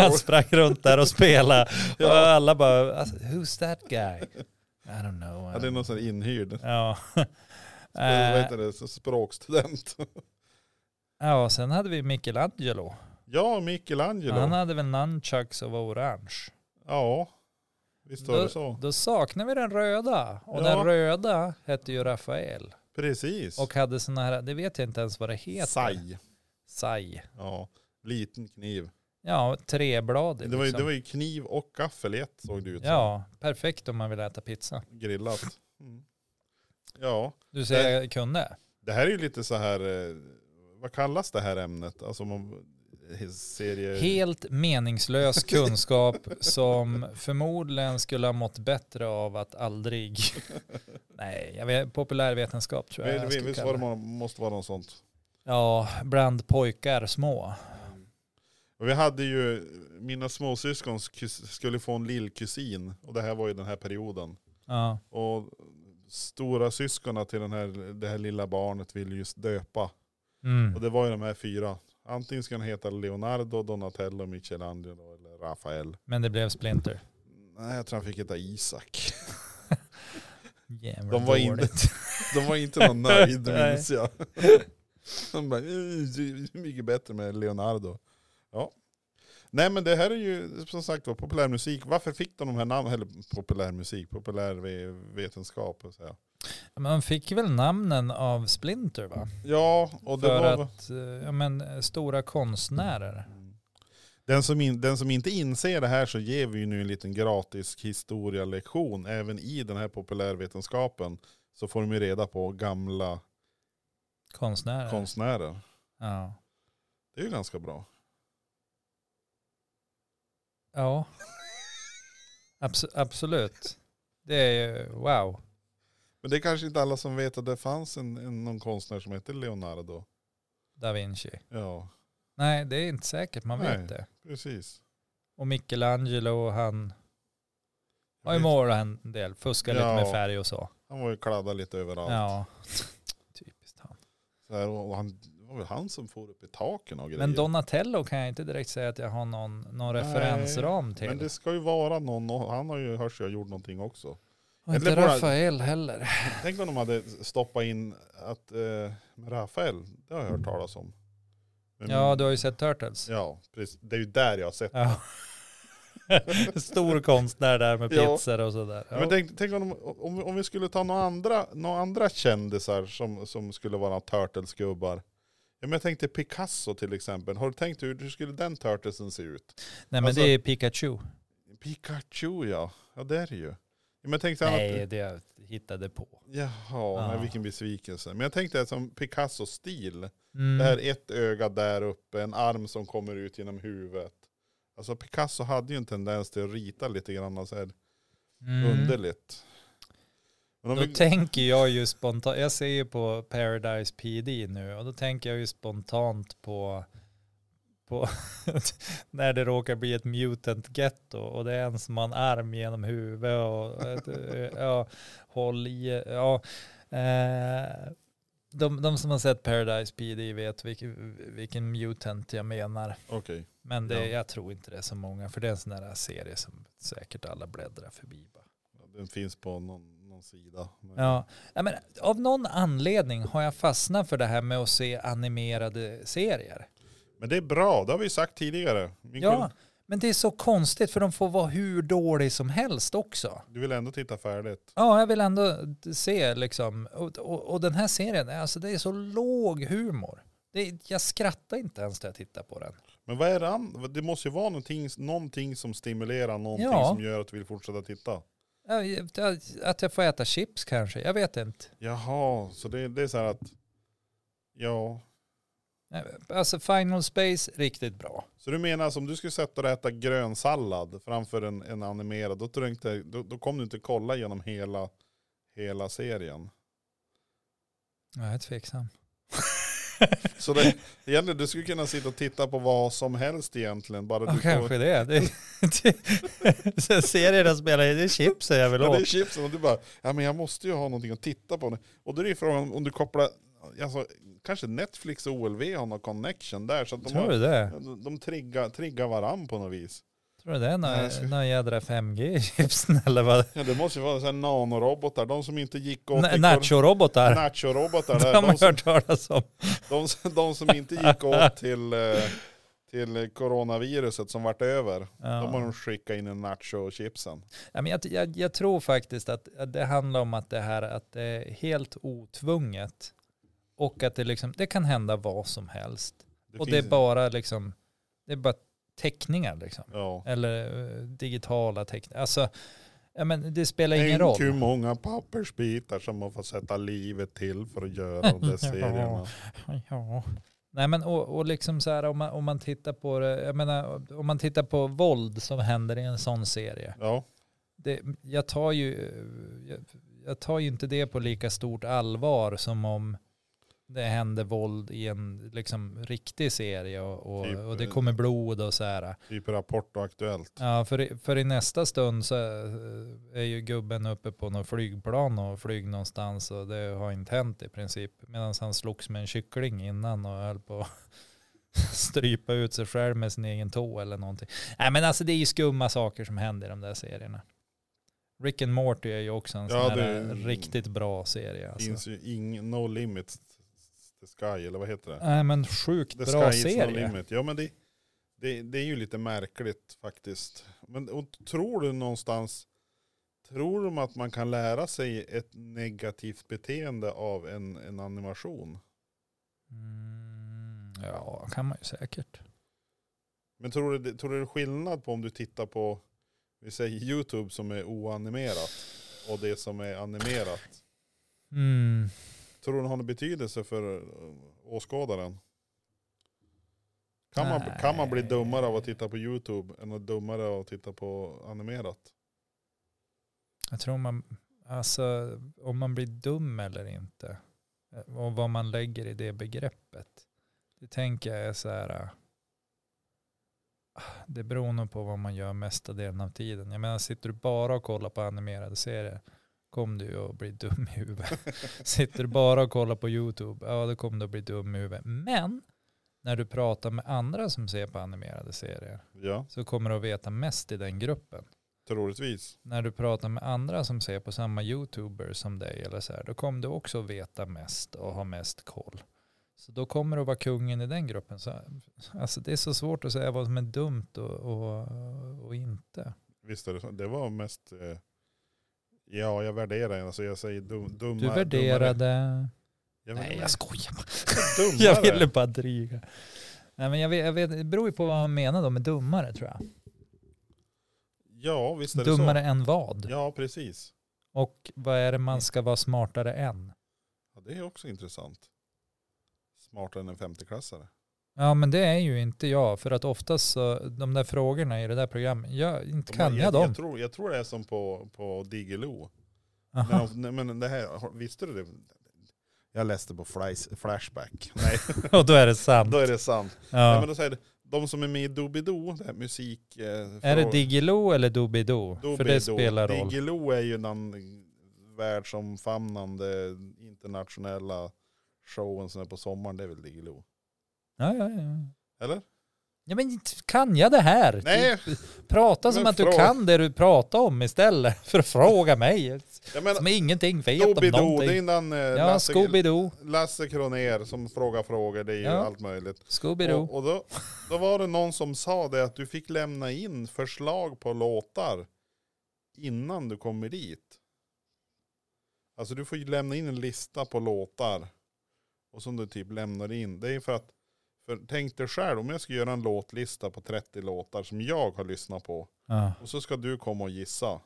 Han sprang runt där och spelade. Ja. Och alla bara, alltså, who's that guy? I don't know. Ja, det är någon sån här inhyrd. ja. Eh, Vad Eh, heter det? Så Språkstudent. ja, sen hade vi Michelangelo. Ja, Michelangelo. Han hade väl nunchucks och var orange. Ja, visst var det så. Då saknar vi den röda. Och Ja. den röda hette ju Rafael. Precis. Och hade sådana här, det vet jag inte ens vad det heter. Saj. Sai. Ja, liten kniv. Ja, trebladig. Det var, ju, liksom. det var ju kniv och gaffel i ett såg det ut som. Ja, perfekt om man vill äta pizza. Grillat. Mm. Ja, Du säger jag kunde. det här är ju lite så här, eh, vad kallas det här ämnet? Alltså man eh, serie... Helt meningslös kunskap som förmodligen skulle ha mått bättre av att aldrig... Nej, jag vet, populärvetenskap tror jag. Vi- jag vi- skulle Visst kalla var det det. må- måste vara något sånt. Ja, bland pojkar små. Och vi hade ju, mina småsyskons kus, skulle få en lillkusin och det här var ju den här perioden. Ja, Och stora syskonen till den här, det här lilla barnet ville just döpa. Och mm. det var ju de här fyra. Antingen ska den heta Leonardo, Donatello, Michelangelo eller Rafael. men det blev Splinter. Nej, jag tror han fick heta Isak. Jävla De var inte- dåligt. De var inte någon nöjd Nej. minns jag. De bara, "Eh, det är mycket bättre med Leonardo. Ja. Nej men det här är ju som sagt var populärmusik. Varför fick de de här namnen? Eller populärmusik, populärvetenskap. Och så här. Men de fick väl namnen av Splinter va? Ja, och det För var... att, eh, ja men eh, stora konstnärer. Den som, in, den som inte inser det här så ger vi ju nu en liten gratis historialektion även i den här populärvetenskapen. Så får de ju reda på gamla Konstnärer. konstnärer. ja. Det är ju ganska bra. Ja. Abs- absolut. Det är ju- wow. Men det är kanske inte alla som vet att det fanns en, en, någon konstnär som hette Leonardo. Da Vinci. Ja, Nej, det är inte säkert. Man Nej. vet det. precis. Och Michelangelo, han har ju Visst, målat en del. Fuskat Ja. lite med färg och så. Han var ju kladdad lite överallt. Ja. Typiskt han. Så här, och han, var väl han som for upp i taken och grejer. Men Donatello kan jag inte direkt säga att jag har någon, någon Nej, referensram till. Men det ska ju vara någon, och han har ju hörs jag gjort någonting också. och eller Mm. inte bara- Rafael heller. Tänk om de hade stoppat in att eh, Rafael, det har jag hört talas om. Men- Ja, du har ju sett Turtles. Ja, precis. Det är ju där jag har sett. Ja. Stor konstnär där med Ja. pizzor och sådär. Ja. Men tänk, tänk om, om, om vi skulle ta några andra, några andra kändisar som, som skulle vara Turtles-gubbar. Ja, men jag tänkte Picasso till exempel. Har du tänkt hur, hur skulle den Turtlesen se ut? Nej men alltså- det är Pikachu. Pikachu ja, ja det är det ju. Ja, men jag tänkte Nej annat, det jag hittade på. jaha, Ja. nej, vilken besvikelse. Men jag tänkte som Picasso-stil. Mm. Det här ett öga där uppe, en arm som kommer ut genom huvudet. Alltså Picasso hade ju en tendens till att rita lite grann så här Mm. underligt. Men om Då vi, tänker jag ju spontant, jag ser ju på Paradise PD nu och då tänker jag ju spontant på, på när det råkar bli ett mutant ghetto och det är en som har en arm genom huvudet och ett, ja, håll i, ja. Eh, de, de som har sett Paradise PD vet vilken, vilken mutant jag menar. Okej. Men Ja. det, jag tror inte det är så många, för det är en sån där serie som säkert alla bläddrar förbi. Bara. Ja, Den finns på någon, någon sida. Men, Ja, ja, men av någon anledning har jag fastnat för det här med att se animerade serier. men det är bra, det har vi ju sagt tidigare. Min Ja, koll- men det är så konstigt för de får vara hur dålig som helst också. Du vill ändå titta färdigt. Ja, jag vill ändå se liksom, och, och, och den här serien, alltså det är så låg humor. Det, jag skrattar inte ens när jag tittar på den. Men vad är det an- Det måste ju vara någonting, någonting som stimulerar, någonting Ja. som gör att du vill fortsätta titta. Jag, jag, att jag får äta chips kanske, jag vet inte. Jaha, så det, det är så här att, ja. Alltså Final Space, riktigt bra. Så du menar alltså, om du skulle sätta dig och äta grön sallad framför en, en animerad, då, tror jag inte, då, då kommer du inte kolla genom hela, hela serien. Ja, jag är tveksam. Så det, egentligen, du skulle kunna sitta och titta på vad som helst egentligen. Bara Ja, du kanske det. det, det sen serierna spelar det är chipsen jag vill Ja, det är åt. chipsen och du bara, ja men jag måste ju ha någonting att titta på. nu." Och då är det ju frågan om du kopplar, alltså kanske Netflix och OLV har någon connection där. Så att de, Tror har, du det? de triggar, triggar varann på något vis. Tror du det är Nej, jag ska- någon, någon jädra 5G i chipsen eller vad? Ja det måste ju vara så här nanorobotar, de som inte gick åt Na- ekor- Nacho-robotar. Nacho-robotar Det där. har De man som, hört talas om. de, som- de som inte gick åt till, eh, till coronaviruset som vart över. De har Ja. de skickat in i nacho-chipsen. Ja, men jag, jag, jag tror faktiskt att att det handlar om att det här att det är helt otvunget och att det, liksom, det kan hända vad som helst. och det är finns- bara, liksom, det är bara teckningar liksom. Ja. Eller eh, digitala teckningar. Alltså, ja, men det spelar ingen Tänk roll. hur många pappersbitar som man får sätta livet till för att göra de där Ja. serierna. Ja. Nej men och, och liksom så här om man, om man tittar på det, jag menar om man tittar på våld som händer i en sån serie. Ja, Det, jag, tar ju, eh, jag, jag tar ju inte det på lika stort allvar som om det händer våld i en liksom riktig serie och, och, Typ, och det eh, kommer blod och så här. typ Rapport och Aktuellt. Ja, för, i- för i nästa stund så eh, är ju gubben uppe på något flygplan och flyg någonstans och det har inte hänt i princip. Medan han slogs med en kyckling innan och höll på att strypa ut sig själv med sin egen tå eller någonting. Nej men alltså det är ju skumma saker som händer i de där serierna. Rick and Morty är ju också en Ja, sån här det- eh, riktigt bra serie. Alltså. finns ju ing, No Limits the Sky, eller vad heter det? Nej men The sjukt bra Sky is No serie. Limit. Ja, men det, det, det är ju lite märkligt faktiskt. Men och, tror du någonstans, tror de att man kan lära sig ett negativt beteende av en, en animation? Mm, ja, kan man ju säkert. Men tror du, det- tror du det är skillnad på om du tittar på, vi säger YouTube som är oanimerat och det som är animerat? Mm. Tror du det har någon betydelse för eh, åskådaren? Kan man, kan man bli Nej. dummare av att titta på YouTube än att dummare av att titta på animerat? Jag tror man, alltså om man blir dum eller inte eh, och vad man lägger i det begreppet. Det tänker jag är så här, äh, det beror nog på vad man gör mesta delen av tiden. Jag menar, sitter du bara och kollar på animerade serier kom du att bli dum i huvudet. Sitter du bara och kollar på YouTube, ja då kommer du att bli dum i huvudet. Men när du pratar med andra som ser på animerade serier Ja, så kommer du att veta mest i den gruppen. troligtvis. När du pratar med andra som ser på samma YouTuber som dig eller så här, då kommer du också att veta mest och ha mest koll. Så då kommer du att vara kungen i den gruppen. Så, alltså det är så svårt att säga vad som är dumt och, och, och inte. Visst är det så. Det var mest, eh, ja jag värderar, alltså jag säger dum, dumma. Du värderade... Jag Nej, värderar- jag skojar bara. Dummare. Jag ville bara dryga. Nej, men jag vet, jag vet, det beror ju på vad man menar då med dummare tror jag. Ja, visst är Dummare det än så. vad? Ja, Mm. precis. Och vad är det man ska vara smartare än? Ja, det är också intressant. Smartare än en femteklassare. Ja men det är ju inte jag, för att oftast så, de där frågorna i det där programmet, jag, inte De- kan jag dem. Jag tror, jag tror det är som på, på Digilo. Aha. Men, de- men det här, har- visste du det? Jag läste på Flies- Flashback. Nej, Och då är det sant. då är det sant. Nej, men Ja. då säger det, de som är med i Doobidoo, det här musik... Eh, Är det fråga- Digilo eller Doobidoo? För det Doobidoo. spelar roll. Diggiloo är ju den världsomfamnande internationella showen som är på sommaren. Det är väl Diggiloo? Ja, ja, ja. Eller? ja men inte kan jag det här? Typ. Nej, Prata som Men att du fråga. kan det du pratar om istället för att fråga mig. jag menar Som ingenting vet om Doobidoo, det är någonting. innan eh, Ja, Lasse, Scooby-Doo. Lasse Kronér som frågar frågor. Det är ju Ja. allt möjligt. Scooby-Doo. Och, och då, då var det någon som sa det att du fick lämna in förslag på låtar innan du kommer dit. Alltså du får ju lämna in en lista på låtar. Och som du typ lämnar in. Det är för att, för tänk dig själv om jag ska göra en låtlista på 30 låtar som jag har lyssnat på. Ja. Och så ska du komma och gissa.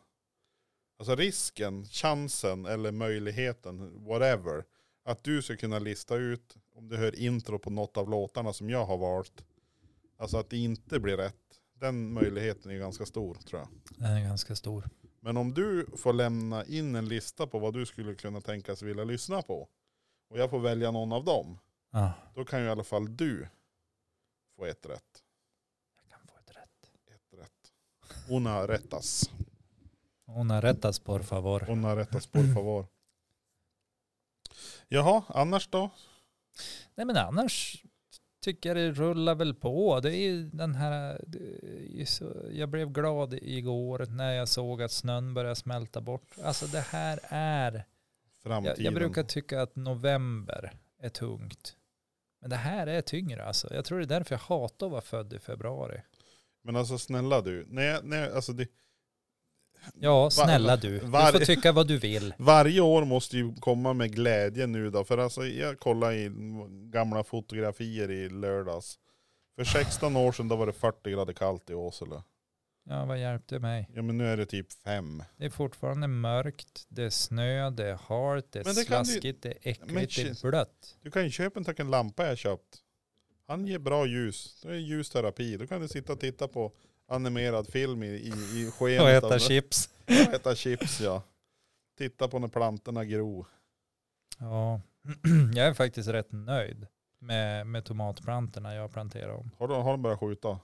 Alltså risken, chansen eller möjligheten, whatever. Att du ska kunna lista ut, om du hör intro på något av låtarna som jag har valt. Alltså att det inte blir rätt. Den möjligheten är ganska stor tror jag. Den är ganska stor. Men om du får lämna in en lista på vad du skulle kunna tänkas vilja lyssna på. Och jag får välja någon av dem. Ja. Då kan ju i alla fall du få ett rätt. Jag kan få ett rätt. Ett rätt. Una rättas. Hon har rättats por favor. Hon har rättats por favor. Jaha, annars då? Nej men annars tycker jag det rullar väl på. Det är ju den här, det är ju så, jag blev glad igår när jag såg att snön började smälta bort. Alltså det här är, Framtiden. jag, jag brukar tycka att november är tungt. Men det här är tyngre alltså. Jag tror det är därför jag hatar att vara född i februari. Men alltså snälla du. Nej, nej, alltså det, Ja, snälla du. Du var- får tycka vad du vill. varje år måste ju komma med glädje nu då. För alltså jag kollade i gamla fotografier i lördags. För 16 år sedan då var det 40 grader kallt i Åsele. Ja, vad hjälpte mig? Ja men nu är det typ 5. Det är fortfarande mörkt, det är snö, det är halt, det är Men det kan du- slaskigt, det är Men äckligt, det shit. är blött. Du kan ju köpa en tack en lampa jag köpt. Han ger bra ljus. Det är ljusterapi. Då kan du sitta och titta på animerad film i, i, i skenet. alltså. Och av- äta chips. Och äta chips ja. Titta på när plantorna gro. Ja, jag är faktiskt rätt nöjd med, med tomatplantorna jag planterar om. Har de, har de börjat skjuta?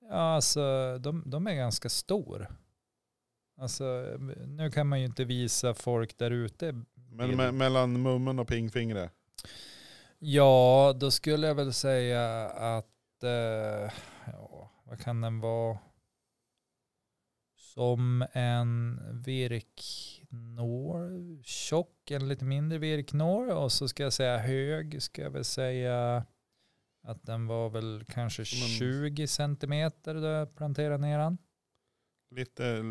Ja, alltså de, de är ganska stor. Alltså nu kan man ju inte visa folk där ute. Men Bild. me mellan mummen och pingfingret? Ja, då skulle jag väl säga att, eh, ja, vad kan den vara? Som en virknår, tjock, en lite mindre virknår. Och så ska jag säga hög, ska jag väl säga att den var väl kanske Som en- 20 centimeter då jag planterade ner den. Lite,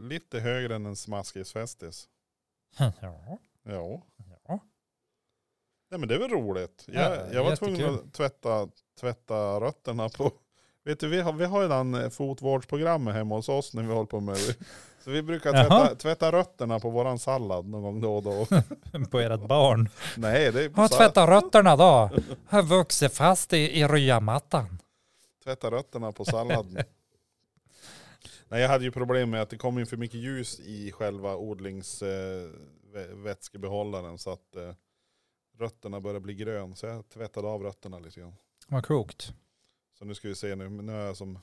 lite högre än en smaskisfestis. Ja, Ja. ja. Nej men det är väl roligt. Ja, Jag, jag var jättekul. tvungen att tvätta, tvätta rötterna på. Vet du, vi har, vi har ju den eh, fotvårdsprogrammet hemma hos oss när vi håller på med Så vi brukar Jaha. tvätta, tvätta rötterna på våran sallad någon gång då och då. På ert barn. Nej, det är på Har sa- tvättat rötterna då? Har vuxit fast i, i ryamattan. tvätta rötterna på salladen. Nej, jag hade ju problem med att det kom in för mycket ljus i själva odlingsvätskebehållaren så att eh, rötterna började bli grön. Så jag tvättade av rötterna lite grann. Vad klokt. Så nu ska vi se nu, nu har jag som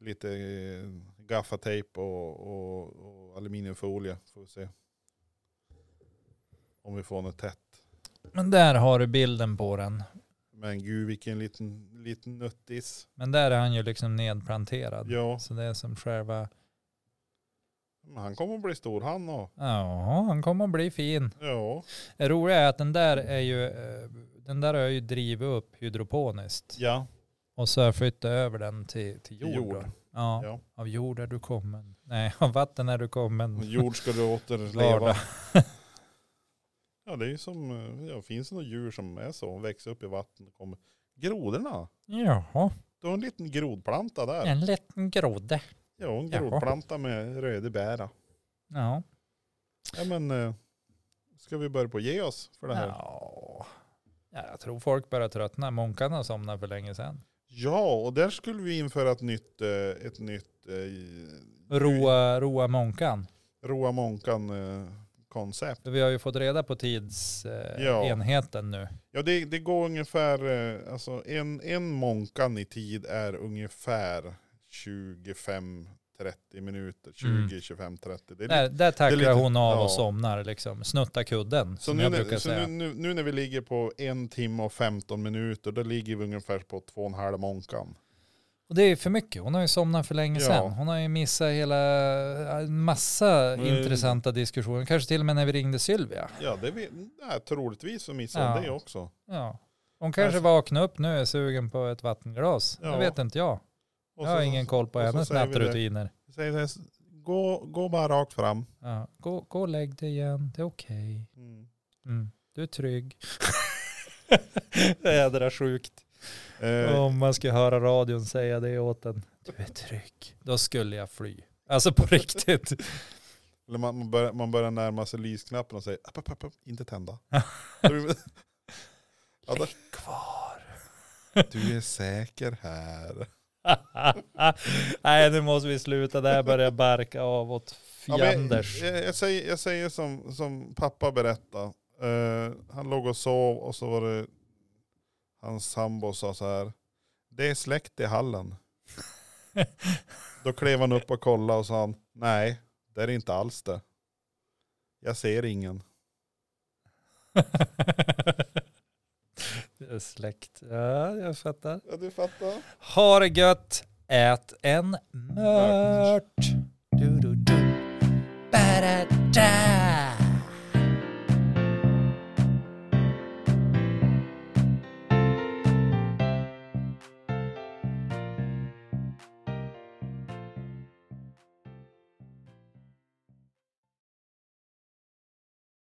lite eh, gaffatejp och, och, och aluminiumfolie. Får vi se. Om vi får något tätt. Men där har du bilden på den. Men gud vilken liten, liten nuttis. Men där är han ju liksom nedplanterad. Ja, Så det är som själva, men han kommer att bli stor han och. ja han kommer att bli fin. Ja, Det roliga är att den där är ju, eh, den där har jag ju drivit upp hydroponiskt. ja. Och så har jag flyttat över den till, till jord. Jord. då. Ja. Ja. Av jord är du kommen. Nej, av vatten är du kommen. Jord ska du återleva. Vardag. Ja det är ju som, eh, ja, finns det några djur som är så, växer upp i vatten och kommer. Grodorna, Jaha, du har en liten grodplanta där. en liten grodde. Ja, en Jaha. grodplanta med röda bär. Ja. Ja men, eh, ska vi börja på att ge oss för det här? ja. Ja, jag tror folk börjar tröttna. Munkarna somnade för länge sedan. Ja, och där skulle vi införa ett nytt, eh, ett nytt eh, i- Roa, roa munkan. Roa Månkan eh, koncept. För vi har ju fått reda på tidsenheten eh, Ja. enheten nu. Ja, det, det går ungefär, eh, alltså en, en Månkan i tid är ungefär 25-30 minuter, Mm. 20-25-30. Det är lite- Där, där tacklar lite- hon av ja. och somnar liksom. Snutta kudden, Så, som nu, jag när- brukar så säga. nu, nu, nu när vi ligger på en timme och 15 minuter, då ligger vi ungefär på två och en halv Månkan. Och det är för mycket. Hon har ju somnat för länge Ja. sedan. Hon har ju missat hela, en massa Men- intressanta diskussioner. Kanske till och med när vi ringde Sylvia. Ja, det vi, nej, troligtvis så missar Ja. det också. Ja. Hon kanske Alltså- vaknar upp nu och är sugen på ett vattenglas. Ja. Det vet inte jag. Och jag har ingen koll på och så hennes säger vi det. nattrutiner. Säger det, gå, gå bara rakt fram. Ja. Gå, gå och lägg dig igen, det är okej. Mm. Mm. Du är trygg. Jädra sjukt. Eh, Om man ska höra radion säga det åt en. Du är trygg. Då skulle jag fly. Alltså på riktigt. Eller man, man, börjar, man börjar närma sig lysknappen och säger app, app, app, app, inte tända. Då blir man- ja, då, Kvar. du är säker här. Nej, nu måste vi sluta där. Börja barka av åt Ja, men jag, fjänders. jag, jag säger, jag säger som, som pappa berättade. Eh, han låg och sov och så var det hans sambo sa så här. Det är släkt i hallen. Då klev han upp och kollade och sa han, nej det är det inte alls det. Jag ser ingen. Det är Släkt. Ja, jag fattar. Ja du fattar. Ha det gött. Ät en mört. Du, du, du. Ba-da-da.